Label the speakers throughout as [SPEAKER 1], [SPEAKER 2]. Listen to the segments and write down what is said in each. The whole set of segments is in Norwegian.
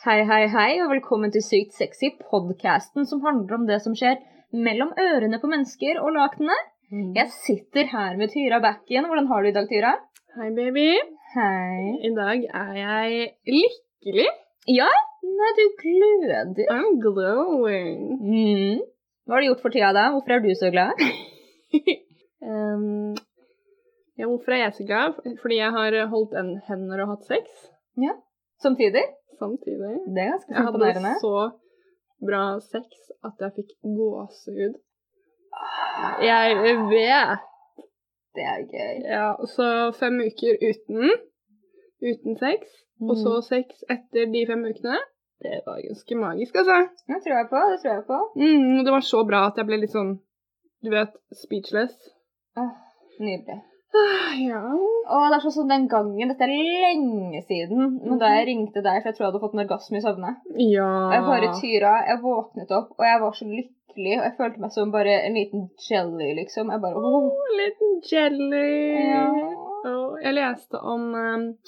[SPEAKER 1] Hei, hei, hei, og velkommen til Sykt sexy, podkasten som handler om det som skjer mellom ørene på mennesker og lakenene.
[SPEAKER 2] Mm.
[SPEAKER 1] Jeg sitter her med Tyra Backen. Hvordan har du i dag, Tyra?
[SPEAKER 2] Hei, baby.
[SPEAKER 1] Hei.
[SPEAKER 2] I dag er jeg lykkelig.
[SPEAKER 1] Ja? Nei, du gløder.
[SPEAKER 2] I'm glowing.
[SPEAKER 1] Mm. Hva har du gjort for tida, da? Hvorfor er du så glad?
[SPEAKER 2] Um, ja, hvorfor er jeg så glad? Fordi jeg har holdt en hender og hatt sex
[SPEAKER 1] Samtidig?
[SPEAKER 2] samtidig.
[SPEAKER 1] Det er ganske
[SPEAKER 2] Jeg
[SPEAKER 1] så
[SPEAKER 2] hadde
[SPEAKER 1] imponerende.
[SPEAKER 2] så bra sex at jeg fikk gåsehud. Jeg vet.
[SPEAKER 1] Det er gøy.
[SPEAKER 2] Ja, så fem uker uten, uten sex, og så sex etter de fem ukene. Det var ganske magisk, altså.
[SPEAKER 1] Mm. Det tror jeg på. Det tror jeg på.
[SPEAKER 2] Mm, og det var så bra at jeg ble litt sånn, du vet, speechless.
[SPEAKER 1] Ah, nydelig.
[SPEAKER 2] Ah, Ja.
[SPEAKER 1] Å, det er sånn som den gangen. Dette er lenge siden. Men
[SPEAKER 2] Mhm.
[SPEAKER 1] da jeg ringte deg, for jeg tror jeg hadde fått en orgasme i søvne.
[SPEAKER 2] Ja.
[SPEAKER 1] Og jeg bare tyra. Jeg våknet opp, og jeg var så lykkelig. Og jeg følte meg som bare en liten jelly, liksom. Jeg bare åh.
[SPEAKER 2] En liten jelly.
[SPEAKER 1] Ja.
[SPEAKER 2] Og jeg leste om, eh,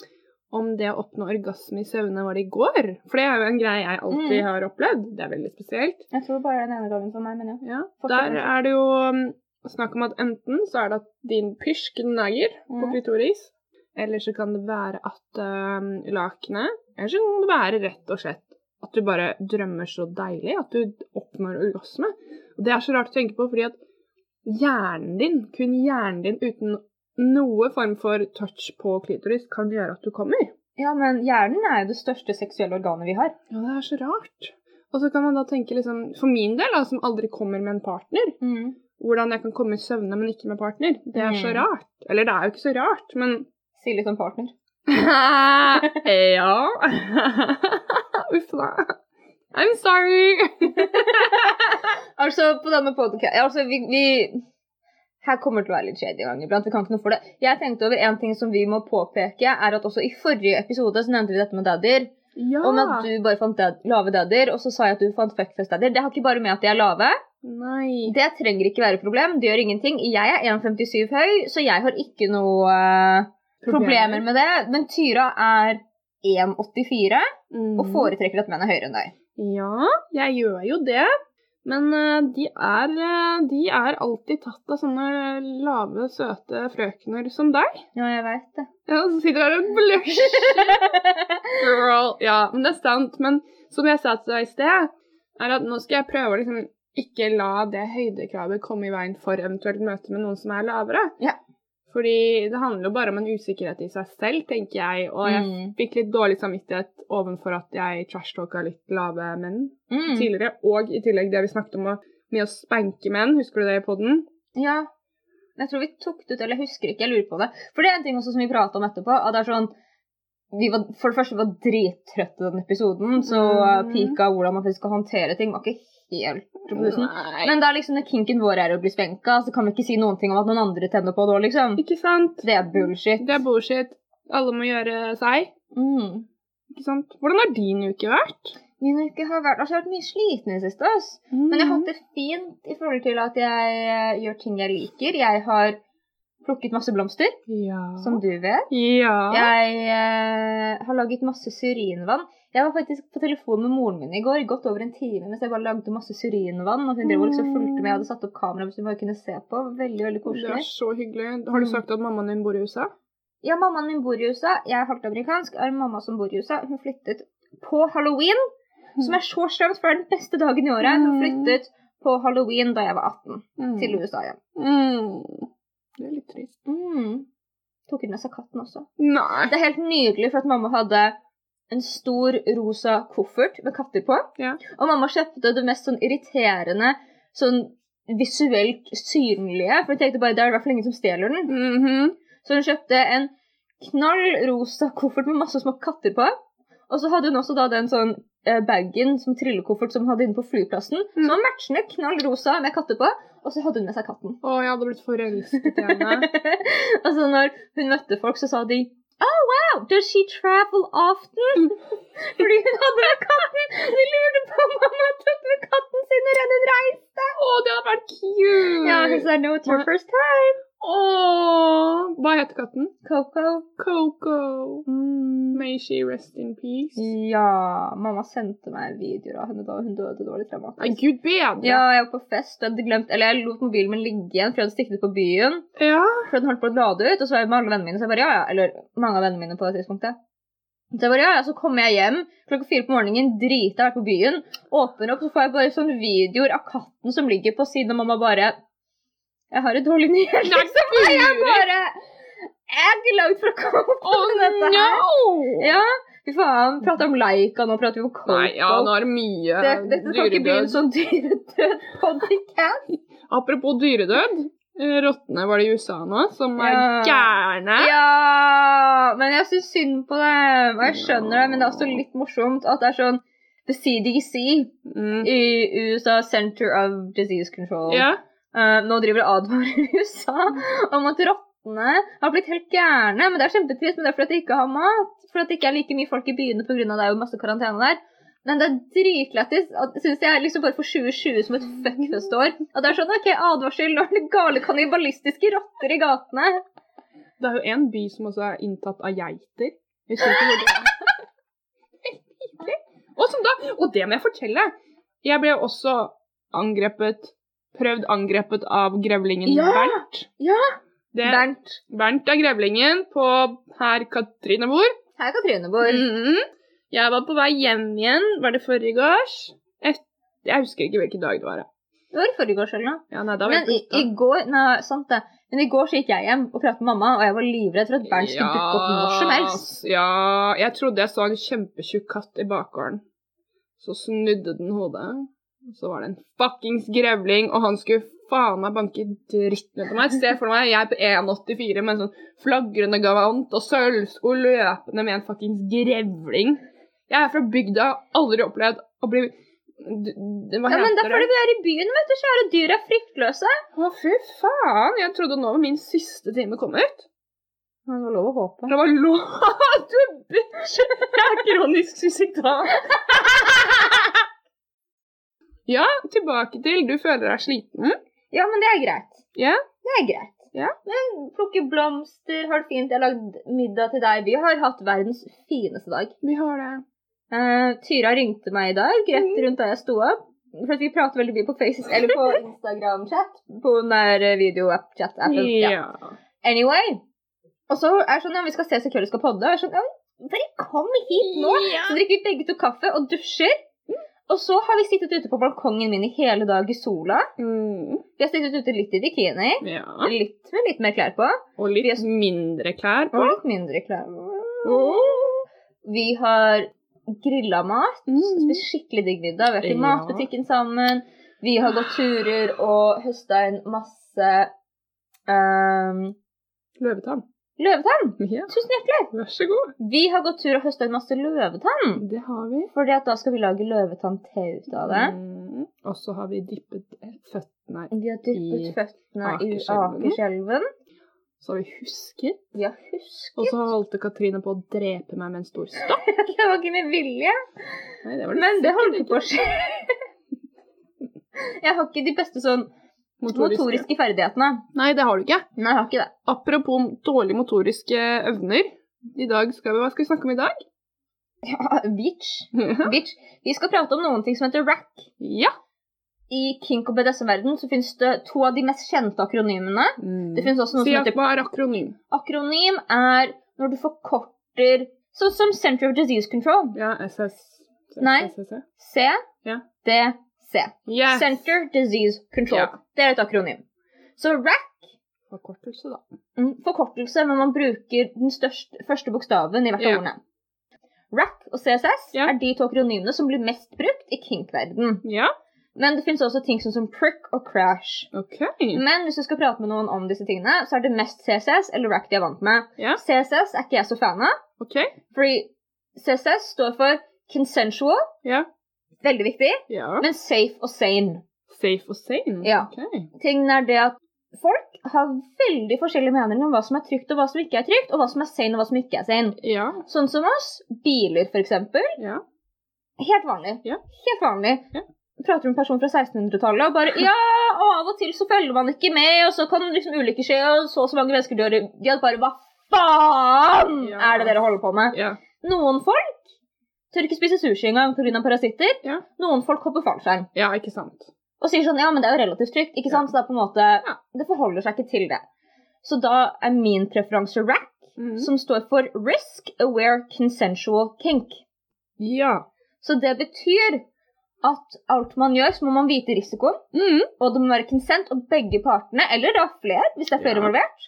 [SPEAKER 2] om det å oppnå orgasme i søvne var det i går. For det er jo en greie jeg alltid
[SPEAKER 1] Mm.
[SPEAKER 2] har opplevd. Det er veldig spesielt.
[SPEAKER 1] Jeg tror bare den ene gangen for meg, men ja.
[SPEAKER 2] Ja.
[SPEAKER 1] Fortell.
[SPEAKER 2] Der er det jo mm, snakk om at enten så er det at din pysj gnager på
[SPEAKER 1] Mhm.
[SPEAKER 2] klitoris, eller så kan det være at eh, lakenet Eller så kan det være rett og slett at du bare drømmer så deilig at du oppnår orgasme. Og det er så rart å tenke på, fordi at hjernen din, kun hjernen din uten noe form for touch på klitoris, kan gjøre at du kommer.
[SPEAKER 1] Ja, men hjernen er jo det største seksuelle organet vi har.
[SPEAKER 2] Ja, det er så rart. Og så kan man da tenke liksom For min del, da, som aldri kommer med en partner, hvordan jeg kan komme i søvne, men ikke med partner. Det er så
[SPEAKER 1] Mm.
[SPEAKER 2] rart. Eller det er jo ikke så rart, men
[SPEAKER 1] Si litt om partner.
[SPEAKER 2] Ja. Uff da. I'm sorry.
[SPEAKER 1] Altså, på denne podcasten altså, vi, vi Her kommer det til å være litt shady en gang iblant. Vi kan ikke noe for det. Jeg tenkte over en ting som vi må påpeke, er at også i forrige episode så nevnte vi dette med dadder.
[SPEAKER 2] Ja.
[SPEAKER 1] Om at du bare fant dad lave dadder, og så sa jeg at du fant fuckfest-dadder. Det har ikke bare med at de er lave.
[SPEAKER 2] Nei.
[SPEAKER 1] Det trenger ikke være et problem. Det gjør ingenting. Jeg er 1,57 høy, så jeg har ikke noe eh, problemer med det. Men Tyra er 1,84
[SPEAKER 2] Mm.
[SPEAKER 1] og foretrekker at menn er høyere enn deg.
[SPEAKER 2] Ja, jeg gjør jo det. Men eh, de er, eh, de er alltid tatt av sånne lave, søte frøkner som deg.
[SPEAKER 1] Ja, jeg veit det.
[SPEAKER 2] Ja, som sitter her og blusher. Girl. Ja, men det er sant. Men som jeg sa til deg i sted, er at nå skal jeg prøve å liksom ikke la det høydekravet komme i veien for eventuelt møte med noen som er lavere.
[SPEAKER 1] Ja.
[SPEAKER 2] Fordi det handler jo bare om en usikkerhet i seg selv, tenker jeg. Og jeg
[SPEAKER 1] Mm.
[SPEAKER 2] fikk litt dårlig samvittighet ovenfor at jeg trashtalka litt lave menn
[SPEAKER 1] Mm.
[SPEAKER 2] tidligere. Og i tillegg det vi snakket om å- med å spanke menn, husker du det i poden?
[SPEAKER 1] Ja. Jeg tror vi tok det ut, eller jeg husker ikke. Jeg lurer på det. For det er en ting også som vi prata om etterpå. at det er sånn, vi var, For det første vi var drittrøtte i den episoden, så
[SPEAKER 2] Mm.
[SPEAKER 1] eh, pika hvordan man faktisk skal håndtere ting, var ikke helt robusten.
[SPEAKER 2] Nei.
[SPEAKER 1] Men det er liksom når kinken vår er å bli spenka, så kan vi ikke si noen ting om at noen andre tenner på det òg, liksom.
[SPEAKER 2] Ikke sant?
[SPEAKER 1] Det er bullshit.
[SPEAKER 2] Det er bullshit. Alle må gjøre seg.
[SPEAKER 1] Mm.
[SPEAKER 2] Ikke sant? Hvordan har din uke vært?
[SPEAKER 1] Min uke har vært, altså, jeg har vært mye sliten i det siste. ass. Men jeg har hatt det fint i forhold til at jeg eh, gjør ting jeg liker. Jeg har plukket masse blomster,
[SPEAKER 2] Mm, ja.
[SPEAKER 1] som du vet.
[SPEAKER 2] Ja.
[SPEAKER 1] Jeg eh, har laget masse syrinvann. Jeg var faktisk på telefon med moren min i går, godt over en time, mens jeg bare lagde masse syrinvann. Og hun drev og liksom fulgte med. Jeg hadde satt opp kamera hvis hun bare kunne se på. Veldig, veldig
[SPEAKER 2] Det er
[SPEAKER 1] koselig. Mm.
[SPEAKER 2] så hyggelig. Har du sagt at mammaen din bor i USA?
[SPEAKER 1] Ja, mammaen min bor i USA. Jeg er halvt amerikansk. Er mamma som bor i USA. Hun flyttet på halloween, som er så slemt, for det er den beste dagen i året. Hun
[SPEAKER 2] Mm.
[SPEAKER 1] flyttet på halloween da jeg var 18, til USA igjen.
[SPEAKER 2] Mm. Det er litt trist.
[SPEAKER 1] Mm. Tok hun med seg katten også.
[SPEAKER 2] Nei.
[SPEAKER 1] Det er helt nydelig, for at mamma hadde en stor rosa koffert med katter på.
[SPEAKER 2] Ja.
[SPEAKER 1] Og mamma kjøpte det mest sånn irriterende sånn visuelt synlige, for hun tenkte bare det er det i hvert fall ingen som stjeler den.
[SPEAKER 2] Mhm.
[SPEAKER 1] Så hun kjøpte en knall rosa koffert med masse små katter på. Og så hadde hun også da den sånn eh, bagen som trillekoffert som hun hadde inne på flyplassen.
[SPEAKER 2] Mm.
[SPEAKER 1] Som var matchende knall rosa med katter på, og så hadde hun med seg katten.
[SPEAKER 2] Å, jeg hadde blitt forelsket i henne.
[SPEAKER 1] og så når hun møtte folk, så sa de Oh wow, does she travel often? Fordi hun hadde med katten! De lurte på om mamma tok med katten sin når hun reiste.
[SPEAKER 2] Å, det hadde vært cute!
[SPEAKER 1] Ja, hun sa no, it's your first time.
[SPEAKER 2] Å, hva heter katten?
[SPEAKER 1] Coco. Mm.
[SPEAKER 2] Coco. May she rest in peace.
[SPEAKER 1] Ja, mamma sendte meg videoer av henne da hun døde dårlig
[SPEAKER 2] Nei,
[SPEAKER 1] traumatisk.
[SPEAKER 2] gud bedre!
[SPEAKER 1] Ja, jeg var på fest, og jeg hadde glemt, eller jeg lot mobilen min ligge igjen, for jeg hadde stikket ut på byen.
[SPEAKER 2] Ja.
[SPEAKER 1] For den holdt på å lade ut, og så var jeg med alle vennene mine, så jeg bare ja, ja. Eller mange av vennene mine på det tidspunktet. Så jeg bare ja, ja, så kommer jeg hjem klokka fire på morgenen, drita, har vært på byen, åpner opp, så får jeg bare sånne videoer av katten som ligger på siden, og mamma bare Jeg har et dårlig nyhet,
[SPEAKER 2] Nei,
[SPEAKER 1] liksom. Og jeg bare Jeg er ikke langt fra å komme opp
[SPEAKER 2] Oh
[SPEAKER 1] med dette
[SPEAKER 2] no!
[SPEAKER 1] her. Ja, fy faen. Prate om Leica nå, prater vi om
[SPEAKER 2] Nei, ja, nå
[SPEAKER 1] Coco.
[SPEAKER 2] er det mye
[SPEAKER 1] Det- Dette kan ikke begynne sånn dyredød podcast.
[SPEAKER 2] Apropos dyredød. eh, Rottene var det i USA nå, som er
[SPEAKER 1] Ja.
[SPEAKER 2] gærne.
[SPEAKER 1] Ja, men jeg syns synd på dem. Og jeg skjønner det, men det er også litt morsomt at det er sånn The CDC
[SPEAKER 2] Mm.
[SPEAKER 1] i USA, Center of Disease Control,
[SPEAKER 2] Ja.
[SPEAKER 1] eh, nå driver og advarer USA om at rottene har blitt helt gærne. Men det er kjempetrist, men det er fordi at de ikke har mat. For at det ikke er like mye folk i byene pga. det er jo masse karantene der. Men det er dritlættis, at- synes jeg, liksom bare for 2020 som et fuckfest år. At det er sånn OK, advarsel, nå er det gale kannibalistiske rotter i gatene.
[SPEAKER 2] Det er jo en by som også er inntatt av geiter. Jeg husker ikke hvor det er. Helt nydelig. Og, som da, og det må jeg fortelle. Jeg ble også angrepet, prøvd angrepet av grevlingen
[SPEAKER 1] Ja,
[SPEAKER 2] Bernt.
[SPEAKER 1] ja.
[SPEAKER 2] Det, Bernt.
[SPEAKER 1] Bernt.
[SPEAKER 2] er grevlingen på her Katrine bor.
[SPEAKER 1] Her er Katrine bor.
[SPEAKER 2] Mhm. Jeg var på vei hjem igjen, var det forrige gårs? Et- Jeg husker ikke hvilken dag det var. ja.
[SPEAKER 1] Det var i forgårs eller noe.
[SPEAKER 2] Ja, nei, da var jeg
[SPEAKER 1] Men i,
[SPEAKER 2] på hytta.
[SPEAKER 1] i går Nei, sant det. Men i går så gikk jeg hjem og pratet med mamma, og jeg var livredd for at Bernt skulle dukke opp når som helst.
[SPEAKER 2] s- Ja, jeg trodde jeg så en kjempetjukk katt i bakgården. Så snudde den hodet, og så var det en fuckings grevling, og han skulle faen meg banke dritten ut av meg. Se for meg jeg på 1,84 med en sånn flagrende gavant og sølvsko løpende med en fuckings grevling. Jeg er fra bygda, aldri opplevd å bli d- d- Hva
[SPEAKER 1] Ja, men det er
[SPEAKER 2] heter
[SPEAKER 1] fordi vi er i byen, vet du, kjære. Dyr er fryktløse.
[SPEAKER 2] Å, fy faen! Jeg trodde nå var min siste time kommet.
[SPEAKER 1] Men det var lov å håpe.
[SPEAKER 2] Det var lov! Du bitch! Jeg er kronisk suicidal. ja, tilbake til du føler deg sliten.
[SPEAKER 1] Ja, men det er greit.
[SPEAKER 2] Ja.
[SPEAKER 1] Det er greit.
[SPEAKER 2] Ja.
[SPEAKER 1] Men plukke blomster, har det fint. Jeg har lagd middag til deg. Vi har hatt verdens fineste dag.
[SPEAKER 2] Vi har det.
[SPEAKER 1] Eh, Tyra ringte meg i dag, rett rundt da jeg sto opp. For at vi prater veldig mye på Faces, eller på Instagram-chat. På den der eh, video-app-chat-appen. Ja.
[SPEAKER 2] Ja.
[SPEAKER 1] Anyway. Og så er det sånn, ja, vi skal ses i kveld, vi skal podde. Og jeg er sånn, ja, men bare kom hit nå.
[SPEAKER 2] Ja.
[SPEAKER 1] Så drikker vi begge to kaffe og dusjer. Og så har vi sittet ute på balkongen min i hele dag i sola.
[SPEAKER 2] Mm.
[SPEAKER 1] Vi har sittet ute litt i bikini.
[SPEAKER 2] ja.
[SPEAKER 1] Litt med litt mer klær på.
[SPEAKER 2] Og
[SPEAKER 1] Vi
[SPEAKER 2] litt
[SPEAKER 1] er-
[SPEAKER 2] mindre klær
[SPEAKER 1] Og
[SPEAKER 2] på.
[SPEAKER 1] litt mindre klær. Vi har grilla mat.
[SPEAKER 2] Mm.
[SPEAKER 1] Spist skikkelig digg middag. Vært i
[SPEAKER 2] Ja.
[SPEAKER 1] matbutikken sammen. Vi har gått turer og høsta inn masse ehm,
[SPEAKER 2] Løvetann.
[SPEAKER 1] løvetann.
[SPEAKER 2] Ja,
[SPEAKER 1] Tusen hjertelig.
[SPEAKER 2] vær så god.
[SPEAKER 1] Vi har gått tur og høsta en masse løvetann.
[SPEAKER 2] Det har vi.
[SPEAKER 1] Fordi at da skal vi lage løvetann-te ut av det.
[SPEAKER 2] Mm. Og så har vi dyppet føttene her.
[SPEAKER 1] Vi har dyppet
[SPEAKER 2] I
[SPEAKER 1] føttene i
[SPEAKER 2] Akerselven.
[SPEAKER 1] Akerselven.
[SPEAKER 2] Så har vi husket.
[SPEAKER 1] Vi har
[SPEAKER 2] Og
[SPEAKER 1] husket.
[SPEAKER 2] så holdt Katrine på å drepe meg med en stor stokk.
[SPEAKER 1] Det var ikke med vilje,
[SPEAKER 2] Nei, det var det
[SPEAKER 1] men det holdt
[SPEAKER 2] sikkert
[SPEAKER 1] på å skje. Jeg har ikke de beste sånn
[SPEAKER 2] ikke. Motoriske.
[SPEAKER 1] motoriske ferdighetene.
[SPEAKER 2] Nei, det har du ikke.
[SPEAKER 1] Nei, jeg har ikke det.
[SPEAKER 2] Apropos dårlige motoriske evner. I dag skal vi, Hva skal vi snakke om i dag?
[SPEAKER 1] Ja, bitch. Bitch. Vi skal prate om noen ting som heter rack.
[SPEAKER 2] ja.
[SPEAKER 1] I kink- og BDSM-verden så finnes det to av de mest kjente akronymene. Det finnes også noe
[SPEAKER 2] Si
[SPEAKER 1] som
[SPEAKER 2] at
[SPEAKER 1] heter
[SPEAKER 2] hva er akronym?
[SPEAKER 1] Akronym er når du forkorter Sånn som Center of Disease Control.
[SPEAKER 2] Ja, SS.
[SPEAKER 1] Nei.
[SPEAKER 2] SSC.
[SPEAKER 1] C,
[SPEAKER 2] Ja.
[SPEAKER 1] D, C.
[SPEAKER 2] Yes.
[SPEAKER 1] Center Disease Control.
[SPEAKER 2] Ja.
[SPEAKER 1] Det er et akronym. Så RAC,
[SPEAKER 2] Forkortelse, da.
[SPEAKER 1] mm, forkortelse, men man bruker den største, første bokstaven i hvert av
[SPEAKER 2] Ja.
[SPEAKER 1] ordene. RAC og CSS
[SPEAKER 2] Ja.
[SPEAKER 1] er de to akronymene som blir mest brukt i kink-verden.
[SPEAKER 2] Ja,
[SPEAKER 1] Men det finnes også ting sånn som prick og crash.
[SPEAKER 2] OK.
[SPEAKER 1] Men hvis du skal prate med noen om disse tingene, så er det mest CSS eller RAC de er vant med.
[SPEAKER 2] Ja.
[SPEAKER 1] CSS er ikke jeg så fan av,
[SPEAKER 2] ok.
[SPEAKER 1] fordi CSS står for consensual,
[SPEAKER 2] Ja.
[SPEAKER 1] veldig viktig,
[SPEAKER 2] ja.
[SPEAKER 1] men safe og sane.
[SPEAKER 2] Safe og sane?
[SPEAKER 1] Ja.
[SPEAKER 2] Ok.
[SPEAKER 1] tingen er det at folk har veldig forskjellige meninger om hva som er trygt og hva som ikke er trygt, og hva som er sane og hva som ikke er sane.
[SPEAKER 2] Ja.
[SPEAKER 1] Sånn som oss, biler for eksempel,
[SPEAKER 2] ja.
[SPEAKER 1] helt vanlig.
[SPEAKER 2] Ja.
[SPEAKER 1] Helt vanlig.
[SPEAKER 2] Ja.
[SPEAKER 1] Prater med en person fra 1600-tallet og bare Ja, og av og til så følger man ikke med, og så kan liksom ulykker skje, og så og så mange mennesker dør i De hadde bare Hva faen
[SPEAKER 2] Ja.
[SPEAKER 1] er det dere holder på med?
[SPEAKER 2] ja.
[SPEAKER 1] Noen folk tør ikke spise sushi engang pga. parasitter.
[SPEAKER 2] Ja.
[SPEAKER 1] Noen folk hopper fallskjerm
[SPEAKER 2] Ja, ikke sant.
[SPEAKER 1] og sier sånn Ja, men det er jo relativt trygt, ikke sant? Så det er på en måte
[SPEAKER 2] Ja.
[SPEAKER 1] Det forholder seg ikke til det. Så da er min preferanse rack,
[SPEAKER 2] Mhm.
[SPEAKER 1] som står for risk aware consensual kink.
[SPEAKER 2] Ja.
[SPEAKER 1] Så det betyr at alt man gjør, så må man vite risikoen,
[SPEAKER 2] Mhm.
[SPEAKER 1] og det må være consent, og begge partene, eller da flere, hvis det er flere
[SPEAKER 2] Ja.
[SPEAKER 1] involvert,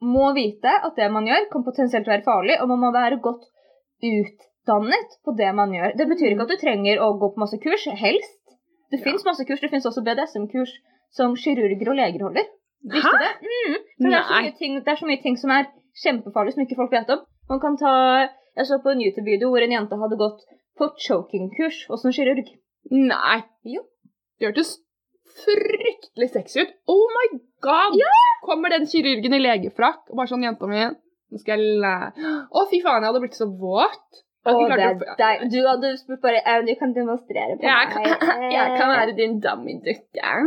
[SPEAKER 1] må vite at det man gjør, kan potensielt være farlig, og man må være godt utdannet på det man gjør. Det betyr ikke at du trenger å gå på masse kurs, helst. Det
[SPEAKER 2] Mm. Ja.
[SPEAKER 1] finnes masse kurs, det finnes også BDSM-kurs som kirurger og leger holder. Visste
[SPEAKER 2] Hæ?
[SPEAKER 1] du det? Mm. For det, er så
[SPEAKER 2] Nei.
[SPEAKER 1] mye ting, det er så mye ting som er kjempefarlig, som ikke folk vet om. Man kan ta, Jeg så på en YouTube-video hvor en jente hadde gått på choking-kurs hos en kirurg.
[SPEAKER 2] Nei.
[SPEAKER 1] Jo.
[SPEAKER 2] Det hørtes fryktelig sexy ut. Oh my god! Kommer den kirurgen i legefrakk og bare sånn, jenta mi, nå skal jeg lære Å, fy faen, jeg hadde blitt så våt. Jeg
[SPEAKER 1] Og
[SPEAKER 2] hadde
[SPEAKER 1] det
[SPEAKER 2] ikke
[SPEAKER 1] er
[SPEAKER 2] klart å-
[SPEAKER 1] deg. Du hadde spurt bare «Eh, Du kan demonstrere på
[SPEAKER 2] Jeg
[SPEAKER 1] meg.
[SPEAKER 2] kan, jeg kan være din dummy-dukke.
[SPEAKER 1] Eh,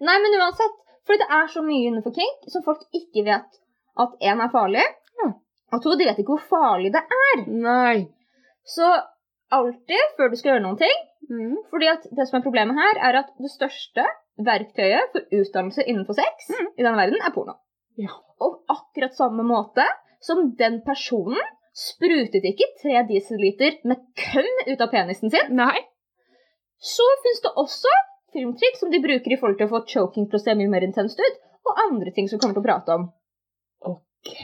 [SPEAKER 1] Nei, men uansett. For det er så mye innenfor kink som folk ikke vet at én er farlig,
[SPEAKER 2] Ja.
[SPEAKER 1] og to, de vet ikke hvor farlig det er.
[SPEAKER 2] Nei.
[SPEAKER 1] Så alltid før du skal gjøre noen ting
[SPEAKER 2] Mm.
[SPEAKER 1] Fordi at det som er problemet her, er at det største verktøyet for utdannelse innenfor sex
[SPEAKER 2] Mm.
[SPEAKER 1] i denne verden er porno.
[SPEAKER 2] Ja.
[SPEAKER 1] Og akkurat samme måte som den personen sprutet ikke tre dieselliter med køm ut av penisen sin,
[SPEAKER 2] Nei.
[SPEAKER 1] så fins det også filmtrikk som de bruker i forhold til å få choking til å se mye mer intenst ut, og andre ting som vi kommer til å prate om.
[SPEAKER 2] OK.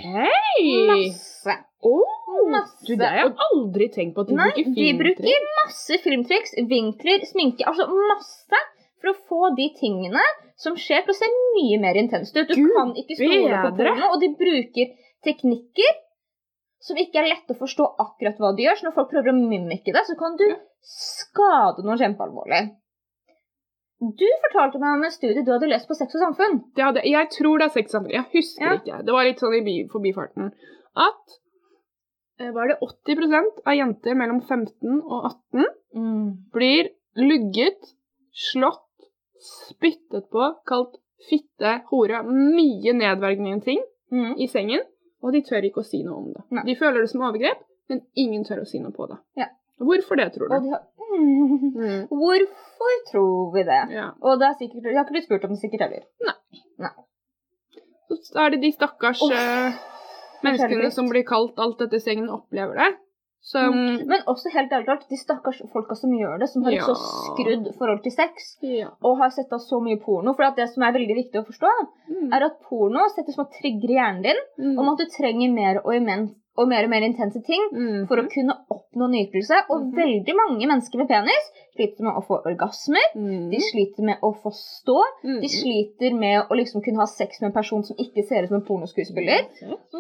[SPEAKER 1] Masse.
[SPEAKER 2] Åh,
[SPEAKER 1] Masse.
[SPEAKER 2] Du, det har jeg aldri tenkt på at de
[SPEAKER 1] Nei,
[SPEAKER 2] bruker
[SPEAKER 1] de bruker
[SPEAKER 2] filmtriks.
[SPEAKER 1] masse filmtriks, vinkler, sminke, altså masse for å få de tingene som skjer til å se mye mer intenst ut. Du
[SPEAKER 2] Gud
[SPEAKER 1] kan ikke stole på
[SPEAKER 2] bedre.
[SPEAKER 1] porno, og de bruker teknikker som ikke er lett å forstå akkurat hva de gjør, så når folk prøver å mimike det, så kan du
[SPEAKER 2] Ja.
[SPEAKER 1] skade noen kjempealvorlig. Du fortalte meg om en studie du hadde lest på Sex og samfunn.
[SPEAKER 2] Det hadde, jeg tror det er seks andre. Jeg husker
[SPEAKER 1] Ja.
[SPEAKER 2] ikke. Det var litt sånn i bi- forbifarten at eh, Var det 80 av jenter mellom 15 og 18 Mm. blir lugget, slått, spyttet på, kalt fitte, hore, mye nedverdigende ting
[SPEAKER 1] Mm.
[SPEAKER 2] i sengen, og de tør ikke å si noe om det.
[SPEAKER 1] Nei.
[SPEAKER 2] De føler det som overgrep, men ingen tør å si noe på det.
[SPEAKER 1] Ja.
[SPEAKER 2] Hvorfor det, tror
[SPEAKER 1] Og
[SPEAKER 2] du?
[SPEAKER 1] de har... Mm.
[SPEAKER 2] Mm.
[SPEAKER 1] Hvorfor tror vi det?
[SPEAKER 2] Ja.
[SPEAKER 1] Og det er sikkert, jeg har ikke blitt spurt om det sikkert heller.
[SPEAKER 2] Så er det de stakkars
[SPEAKER 1] Uff.
[SPEAKER 2] eh,
[SPEAKER 1] Forferdelig.
[SPEAKER 2] menneskene som um, blir kalt alt dette i sengen, opplever det. Som
[SPEAKER 1] Mm. Men også helt ærlig talt, de stakkars folka som gjør det, som har et
[SPEAKER 2] Ja.
[SPEAKER 1] så skrudd forhold til sex,
[SPEAKER 2] ja.
[SPEAKER 1] og har sett av så mye porno. For at det som er veldig viktig å forstå,
[SPEAKER 2] Mm.
[SPEAKER 1] er at porno setter som å trigger hjernen din
[SPEAKER 2] Mm.
[SPEAKER 1] om at du trenger mer og, imen- og mer og mer intense ting
[SPEAKER 2] Mm.
[SPEAKER 1] for å kunne oppnå nytelse. Og
[SPEAKER 2] Mhm.
[SPEAKER 1] veldig mange mennesker med penis sliter med å få orgasmer,
[SPEAKER 2] Mm.
[SPEAKER 1] de sliter med å forstå,
[SPEAKER 2] Mm.
[SPEAKER 1] de sliter med å liksom kunne ha sex med en person som ikke ser ut som en pornoskuespiller